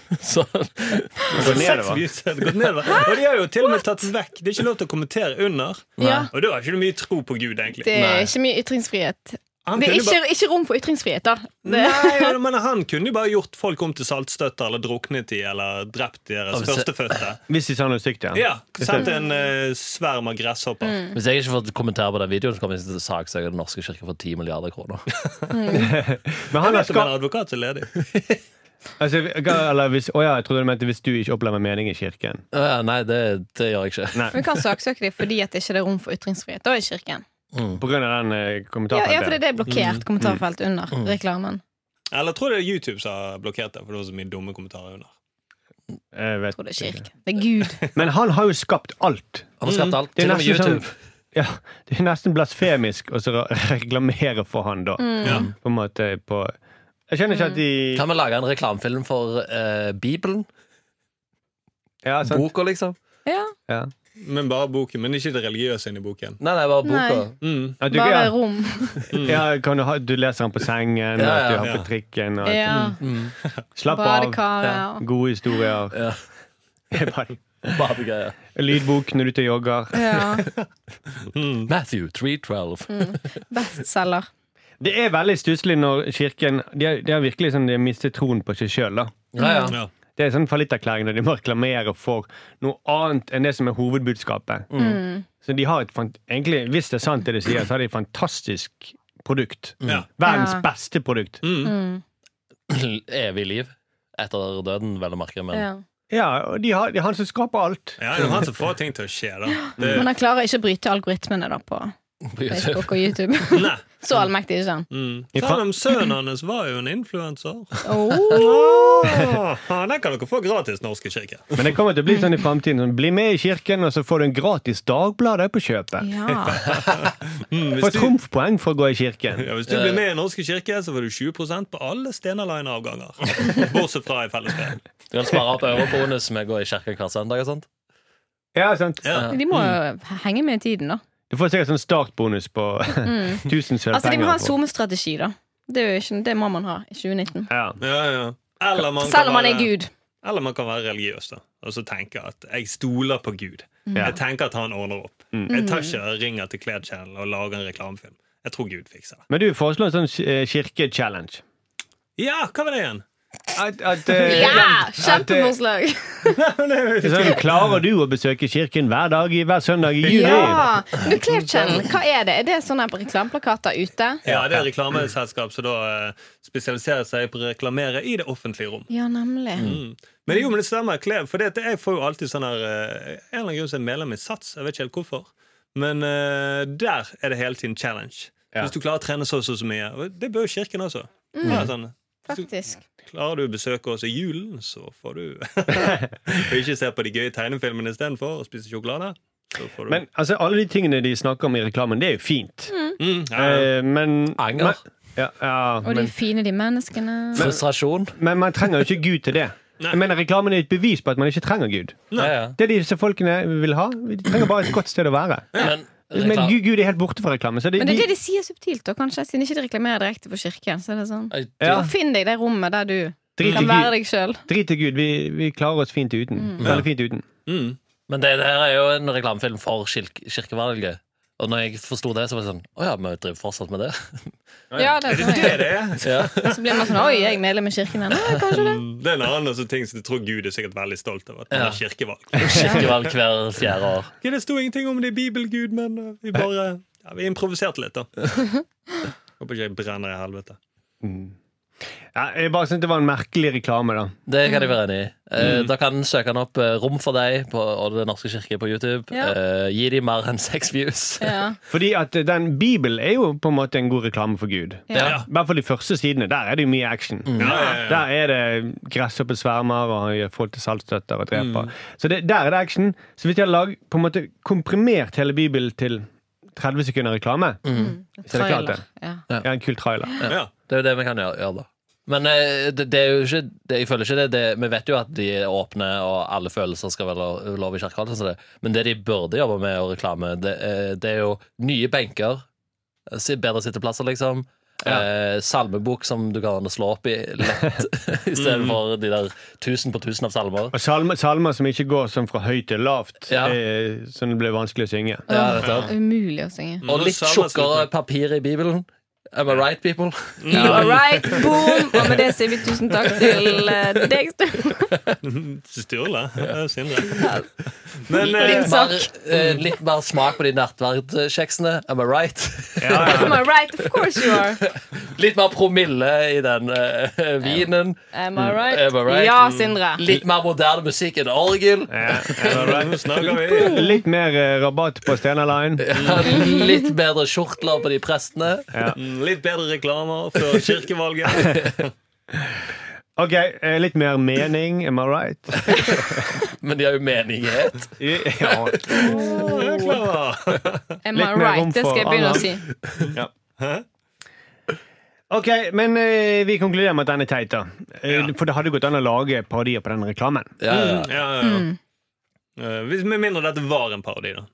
C: Så
E: går
B: Seks
E: nedover.
B: views har det gått nedover. Og de har jo til og med tatt vekk. Det er ikke lov til å kommentere under.
F: Ja,
B: Og da har ikke du mye tro på Gud, egentlig.
F: Det
C: Nei.
F: er ikke mye ytringsfrihet.
B: Han
F: Det er
B: kunne
F: ikke, ikke rom for ytringsfrihet, da. Det,
B: Nei, og- men han kunne jo bare gjort folk om til saltstøtter eller druknet i eller drept deres
C: Og hvis-
B: førstefødte.
E: hvis de sa noe stygt, ja.
B: Ja, Sendt en eh, sverm av gresshopper.
F: Mm.
C: Hvis jeg ikke får kommentere på den videoen, så kommer jeg til å saksøke Den norske kirke for 10 milliarder kroner.
E: Men
B: Jeg
E: han har
B: vet om en
E: skapt
B: advokat som er ledig.
E: altså, eller hvis, Å ja, jeg trodde du mente hvis du ikke opplever mening i kirken.
C: Ja, Eh, nei, det, det gjør jeg ikke.
F: men kan saksøke dem fordi at det ikke er rom for ytringsfrihet da i kirken.
E: På grunn av den eh,
F: Ja,
E: kommentaren.
F: ja, for det er blokkert kommentarfelt under reklamen.
B: Eller jeg tror det er YouTube som har blokkert det, for det var så mye dumme kommentarer under.
E: Jeg Eh, vet
F: Jeg tror det er
E: ikke.
F: kirke. Det er Mm. Gud.
E: Men han har jo skapt alt.
C: Han har skapt alt.
E: Det er
C: Til og med
E: nesten
C: YouTube.
E: sånn ja, det er nesten blasfemisk å så re- reklamere for han da.
F: Mm.
B: Ja.
E: På en måte på Jeg skjønner ikke at de
C: Kan vi lage en reklamefilm for eh, Bibelen?
E: Ja, sant.
C: Boka, liksom?
F: Ja,
E: Ja.
B: Men bare boken, men ikke det religiøse inni boken.
C: Nei, nei, bare boka.
F: Nei.
B: Mm.
E: At du,
F: bare
E: ja,
F: rom.
E: ja, kan du, ha, du leser han på sengen, og
C: Ja,
E: at du
C: ja,
E: har
B: ja.
E: på trikken og at-
F: Ja,
C: Mm.
E: Slapp av.
F: Badekaret. og-
E: Gode historier.
C: Ja.
E: Bare
C: Badegreier.
E: Lydbok når du er ute og jogger.
F: Ja.
C: Matthew 312.
F: Mm. Bestselger.
E: Det er veldig stusslig når kirken De har, de har virkelig sånn, de har mistet troen på seg sjøl.
C: Ja, ja.
B: Ja.
E: Det er en sånn fallitterklæring når de må reklamere for noe annet enn det som er hovedbudskapet.
F: Mm.
E: Så de har et fant egentlig, Hvis det er sant det de sier, så har de et fantastisk produkt.
B: Ja.
E: Verdens
F: Ja.
E: beste produkt.
C: Evig liv. Etter døden, vel å merke. Men
F: Ja.
E: Ja, og de har, de har han som skaper alt.
B: Ja, det er han som får ting til å skje, da. Det,
F: Men han klarer ikke å bryte algoritmene da på
C: på YouTube.
F: Facebook og YouTube.
B: nei.
F: Så allmektig er ikke han.
B: Mm.
E: I
B: Selv om sønnen hans var jo en influenser.
F: Oh.
B: den kan dere få gratis, Norske kirke.
E: Men det kommer til å bli sånn i fremtiden. Sånn, bli med i kirken, og så får du en gratis Dagbladet på kjøpet.
F: Ja.
B: Mm,
E: Få
B: hvis, du,
E: trumfpoeng for å gå i kirken.
B: ja, hvis du blir med i Norske kirke, så får du 20 på alle Stena Line-avganger. Bortsett fra i fellesferien.
C: Du kan spare opp eurobonus med å gå i kirka hver søndag. og sånt
E: Ja, sant.
B: Ja.
F: De må jo henge med i tiden, da.
E: Du får sikkert sånn startbonus på 1000 sølvpenger.
F: Altså, de må ha en
E: for-
F: SoMe-strategi, da. Det, er jo ikke, det må man ha i 2019.
E: Ja.
B: Ja, ja. Eller man kan
F: Selv om man er
B: være-
F: Gud.
B: Eller man kan være religiøs da og så tenke at jeg stoler på Gud. Jeg tenker at han ordner opp. Jeg tar ikke ringer til Kled Channel og lager en reklamefilm. Jeg tror Gud fikser det.
E: Men du foreslår en sånn eh, kirke-challenge.
B: Ja, hva var det igjen?
E: At, at, eh,
F: Ja!
E: at, eh,
F: Kjempeforslag!
E: Sånn, klarer du å besøke kirken hver dag i hver søndag i juli?
F: Ja! Du, Clear Channel, hva er det? Er det sånne reklameplakater ute?
B: Ja, det er reklameselskap som da eh, spesialiserer seg på å reklamere i det offentlige rom.
F: Ja, nemlig.
B: Mm. Men jo, men det stemmer, Klev. For det, at jeg får jo alltid sånn her eh, En eller annen grunn så er jeg medlem i Sats. Jeg vet ikke helt hvorfor. Men eh, der er det hele tiden challenge.
E: Ja.
B: Hvis du klarer å trene så og så, så mye. Og det bør jo kirken også. Ja, sånn,
F: Faktisk.
B: Klarer du å besøke oss i julen, så får du Og ikke se på de gøye tegnefilmene istedenfor og spise sjokolade. Så får du
E: Men altså, alle de tingene de snakker om i reklamen, det er jo fint.
B: mm, ja, ja.
E: Eh, men
C: Anger.
E: Men, ja, ja,
F: Og de
E: men,
F: fine, de menneskene.
C: Frustrasjon.
E: men man trenger jo ikke Gud til det.
B: Nei.
E: Jeg mener, Reklamen er et bevis på at man ikke trenger Gud.
C: Ja, ja.
E: Det disse folkene vil ha, de trenger bare et godt sted å være.
C: Men,
E: Men
C: reklam-
E: Gud, Gud er helt borte fra reklame. Så det,
F: Men det er det
E: de,
F: de sier subtilt, da, kanskje, siden ikke de reklamerer direkte for kirken. Så er det sånn
C: Nei,
E: Ja.
F: Så Finn deg i det rommet der du
E: drit i
F: kan være
E: Gud.
F: deg sjøl.
E: Drit i Gud. Vi, vi klarer oss fint uten. Veldig fint uten.
B: Mm.
C: Men det her er jo en reklamefilm for kirk kirkevalget. Og når jeg forsto det, så var det sånn Å ja, vi driver fortsatt med det?
F: Ja, det er sånn,
B: Det er det.
C: Ja.
F: ja. Så blir man sånn Oi, jeg er medlem i kirken ennå. Nei, Kanskje det.
B: Mm, Det er en annen også ting som jeg tror Gud er sikkert veldig stolt av. At man
C: Ja.
B: har kirkevalg.
C: Kirkevalg hver fjerde år.
B: Ok, Det sto ingenting om det i Bibelgud, men eh, vi bare ja, Vi improviserte litt, da. Håper ikke jeg brenner i helvete.
E: Ja, jeg bare syntes det var en merkelig reklame, da.
C: Det kan jeg være enig i. Eh, Da kan en søke den opp eh, Rom for deg på og Den norske kirke på YouTube.
F: Ja.
C: Eh, gi de mer enn seks views.
F: Ja.
E: Fordi at eh, den Bibelen er jo på en måte en god reklame for Gud.
C: Ja.
E: I hvert fall de første sidene. Der er det jo mye action. Der er det gresshoppe svermer og gjør folk til saltstøtter og dreper. Så det, der er det action. Så hvis de hadde lag, på en måte komprimert hele Bibelen til 30 sekunder reklame,
F: Mm.
E: så Mm. er det klart det.
F: Ja.
E: Ja, en kul trailer.
B: Ja.
C: Det er jo det vi kan gjøre, gjøre da. Men eh, det, det er jo ikke det, Jeg føler ikke det, det Vi vet jo at de er åpne, og alle følelser skal være lov, lov i kirka. og alt sånt som det. Men det de burde jobbe med å reklame, det, eh, det er jo nye benker. eh, si- Bedre sitteplasser, liksom.
E: Ja.
C: Eh, salmebok som du kan slå opp i lett, istedenfor de der tusen på tusen av salmer.
E: Og salmer, salmer som ikke går sånn fra høyt til lavt,
C: Ja.
E: eh, sånn det blir vanskelig å synge.
C: Ja, dette.
F: Umulig å synge.
C: Og litt tjukkere papir i Bibelen. Am I right, people?
F: You are right, boom! Og med det sier vi tusen takk til eh, deg, Sturle.
B: Sturle. eh, Sindre. Men eh,
C: Litt
F: Litt
C: mer,
F: sak.
C: eh, litt mer smak på de nattverdkjeksene. Am I right?
F: Am I right? Of course you are.
C: Litt mer promille i den eh, vinen.
F: Am I right?
C: Am I right?
F: Ja, Sindre.
C: Litt mer moderne musikk enn orgel.
B: nå snakker vi.
E: Litt mer eh, rabatt på Stena Line.
C: Litt bedre skjortler på de prestene.
B: Mm, Litt bedre reklamer før kirkevalget.
E: Ok, eh, litt mer mening, am I right?
C: Men de har jo menighet.
E: Ja.
B: Ja, klar.
E: Litt
F: Am I
E: mer rom
F: right? Det skal jeg
E: for
F: begynne
E: alle.
F: å si.
E: Ok, men eh, vi konkluderer med at den er teit, da. Eh, For det hadde gått an å lage parodier på den reklamen.
C: Ja, ja.
B: Ja, ja, ja. Eh, hvis- Med mindre dette var en parodi, da.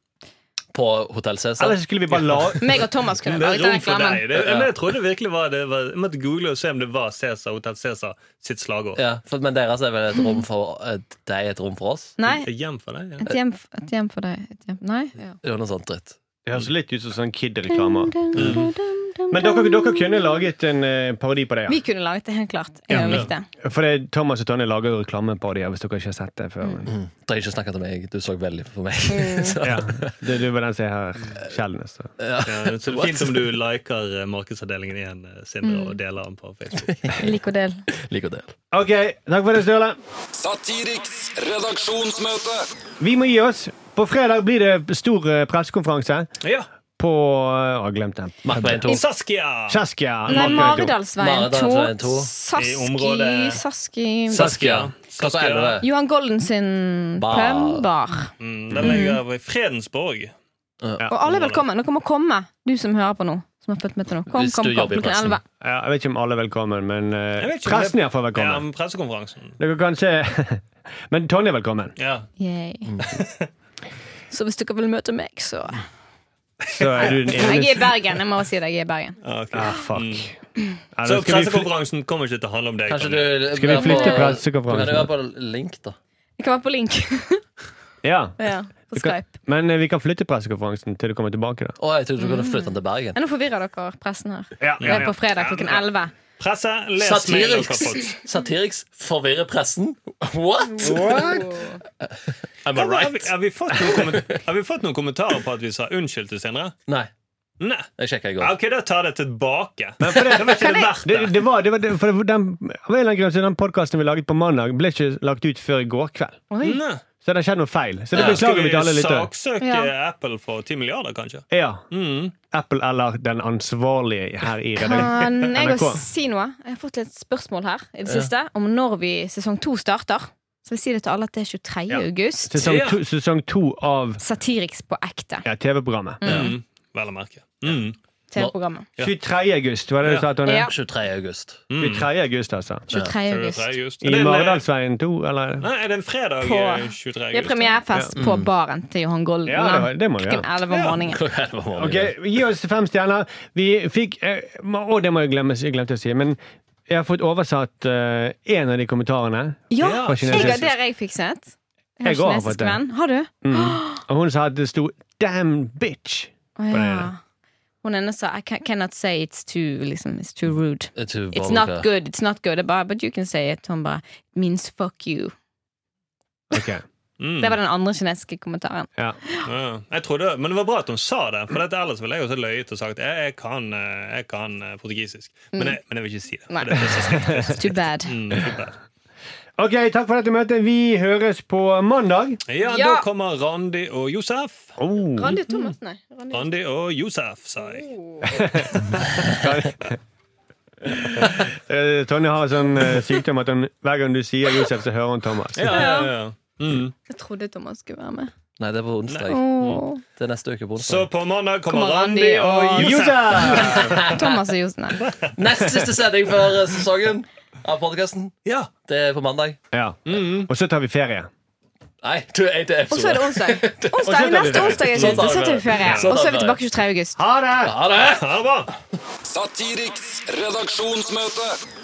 C: På Hotell Cæsar.
E: Eller så skulle vi bare lage
F: Meg og Thomas kunne
B: Det er
F: laget den
B: rom for
F: reklamen.
B: deg. Det, men jeg trodde virkelig var det var, Jeg måtte google og se om det var Cæsar Hotell Cæsar sitt slagord.
C: Ja, for, men deres er vel et rom for eh, deg, et rom for oss?
F: Nei,
B: Jeg Hjem for deg. Ja.
F: et hjem, et hjem for deg. Et hjem. Nei? Ja.
C: Det er jo noe sånt dritt.
E: Det høres litt ut som sånn Kid-reklamer.
F: Dum, dum, dum, dum, dum.
E: Men dere, dere kunne laget en eh, parodi på det.
F: Vi
E: ja.
F: kunne laget det, helt klart. Jeg
B: Ja.
F: likte det.
E: For det, Thomas og Tonje lager jo reklameparodier, hvis dere ikke har sett det før.
B: Mm.
C: Trenger ikke snakke til meg. Du så veldig på meg. Så,
E: Ja, det, det var den som er her sjeldnest. så.
C: ja.
B: Ja, så det er fint om du liker eh, markedsavdelingen igjen, eh, Sindre,
F: Mm.
B: og deler den på Facebook.
F: Lik og del.
C: Lik og del.
E: Ok, takk for det, Sturle.
D: Satiriks redaksjonsmøte.
E: Vi må gi oss. På fredag blir det stor eh, pressekonferanse
B: Ja!
E: på eh, Å, jeg glemte den.
C: Mark Bein
B: I
C: to.
B: Saskia!
E: Saskia.
F: Nei,
E: Mark Beito.
F: Maridalsveien
C: Maridalsveien
F: 2.
C: to.
B: I
F: Saski
B: området-
F: Saski
C: Saskia. Hva så
B: Saskia.
C: er det?
F: Johan Golden sin
C: Bar.
F: pømbar.
B: Mm, den ligger i Fredensborg.
F: Og alle er velkommen. Dere må komme, du som hører på nå. Som har fulgt med til nå. Kom,
C: Hvis
F: kom,
C: du
F: kom.
C: jobber i
F: Klokken
C: pressen.
F: 11.
E: Ja, jeg vet ikke om alle er velkommen, men eh,
B: Jeg vet ikke om
E: pressen
B: det-
E: er iallfall
B: Ja,
E: velkommen.
B: men pressekonferansen.
E: Dere kan se Men Tonje er velkommen.
B: Ja.
F: Yay. Så hvis dere vil møte meg, så
E: Så er du den
F: Jeg er i
E: eneste
F: Bergen. Jeg må si det. Jeg er i Bergen.
B: Ah, ok.
E: ah, Fuck. Ja, da
B: Mm. Så
E: skal vi fly-
B: pressekonferansen kommer ikke til å handle om deg.
C: Kanskje
B: Tonje.
C: du
E: Skal vi flytte
C: Du
E: pressekonferansen?
C: kan jo være på link, da.
F: Jeg kan være på link.
E: ja.
F: ja, på
E: Du kan-
F: Skype.
E: Men eh, vi kan flytte pressekonferansen til du kommer tilbake. da
C: Å, jeg trodde du kunne flytte den til Bergen.
F: Ja, nå forvirrer dere pressen her.
E: Ja,
F: Det er på fredag klokken 11.
B: Presse, les mail dere har
C: Satiriks,
B: fått.
C: satiriks forvirrer pressen? What?!
B: Har vi-
C: Am I
B: Har vi,
C: right?
B: har, vi fått noen komment- har vi fått noen kommentarer på at vi sa unnskyld til Sindre?
C: Nei.
B: Nei.
C: Jeg sjekka i
B: Ja,
C: går.
B: Ok, da tar jeg det tilbake. Det var ikke det verdt
E: Det,
B: det.
E: det var, det var, det, for det- den, av en eller annen grunn så den podkasten vi laget på mandag, ble ikke lagt ut før i går kveld.
F: Oi.
B: Nei.
E: Så det har skjedd noe feil. Så det
C: Ja.
E: beklager vi til alle lyttere.
B: saksøke
F: Ja.
B: Apple for 10 milliarder, kanskje?
E: Ja.
B: Mm.
E: Apple eller den ansvarlige her i redaksjonen.
F: Kan jeg
E: NRK.
F: også si noe? Jeg har fått litt spørsmål her i det siste om når vi sesong to starter. Så vi sier det til alle at det er 23.
E: Ja.
F: august.
E: Sesong to, sesong to av
F: Satiriks på ekte.
E: ja, TV-programmet.
B: Mm. Vel å merke. Mm.
F: TV-programmet.
B: Ja.
E: 23. august, var det du
B: Ja.
E: sa, Tonje?
F: Ja.
C: 23. august.
B: Mm.
E: 23. august, altså.
F: 23. august.
B: 23. august. Er
E: I
B: det en- eh,
E: Maridalsveien 2, eller?
B: Nei, er det en fredag
F: På-
B: eh, 23.
F: Vi har
B: august?
F: premierefest på baren til Johan Golden.
E: mm. Ja, det var- det må vi
F: klokken 11 om morgenen.
C: Klokka elleve om morgenen.
E: Ok, Gi oss fem stjerner. Vi fikk eh, må- Å, det må jeg glemme, jeg glemte å si. Men jeg har fått oversatt én av de kommentarene.
F: Ja,
B: Ja,
E: fra
F: jeg
E: kinesisk.
F: har der jeg fikset. Jeg
E: Jeg
F: har
E: går av og
F: kinesisk
E: til.
F: venn. Har du?
E: Og hun sa at det sto 'damn bitch'.
F: Å, ja. Hun ene sa I ca- cannot say it's too, liksom, it's too rude.
C: Eh, til
F: It's
C: Bolga.
F: not good, it's not good. Jeg bare, But you can say it. Hun bare means fuck you.
E: Ok
F: Det var den andre kinesiske kommentaren.
E: Ja.
B: Ja, jeg trodde, men det var bra at hun sa det, for dette ellers ville jeg også løyet og sagt jeg, jeg, kan, eh, jeg kan eh, portugisisk. Men jeg, men jeg vil ikke si det.
F: Nei.
B: For det er så stygt.
F: It's too bad.
B: Mm, super.
E: Ok, takk for dette møtet. Vi høres på mandag.
B: ja,
F: Ja.
B: da kommer Randi og Josef.
E: Oh.
F: Randi og Thomas, nei. Randi.
B: Randi og Josef, sa jeg.
E: Eh, Tonje har en sånn eh, sykdom at hun, hver gang du sier Josef, så hører hun Thomas.
B: Ja, ja, ja. Mm.
F: Jeg trodde Thomas skulle være med.
C: Nei, det er på onsdag.
F: Mm. Åh.
C: Det er neste uke på onsdag.
B: Så på mandag kommer
F: Kommer
B: Randi
F: Randi og
B: og Josef.
E: Josef!
F: Thomas og Josen, nei.
C: Nest siste sending for eh, sesongen av podkasten.
B: Ja.
C: Det er på mandag.
E: Ja. Og så tar vi ferie.
C: Nei, du er til
F: Og så er
C: episode.
F: det onsdag. onsdag
E: tar vi
F: neste
E: ferie.
F: onsdag er
C: Sånn
F: det
C: tar vi
F: Så tar vi ferie.
C: ferie. Sånn
F: Og så
C: tar
F: er vi
C: vi
F: tilbake 23. august.
E: Ha det!
C: Ha det!
B: Ha det bra.
D: Satiriks redaksjonsmøte.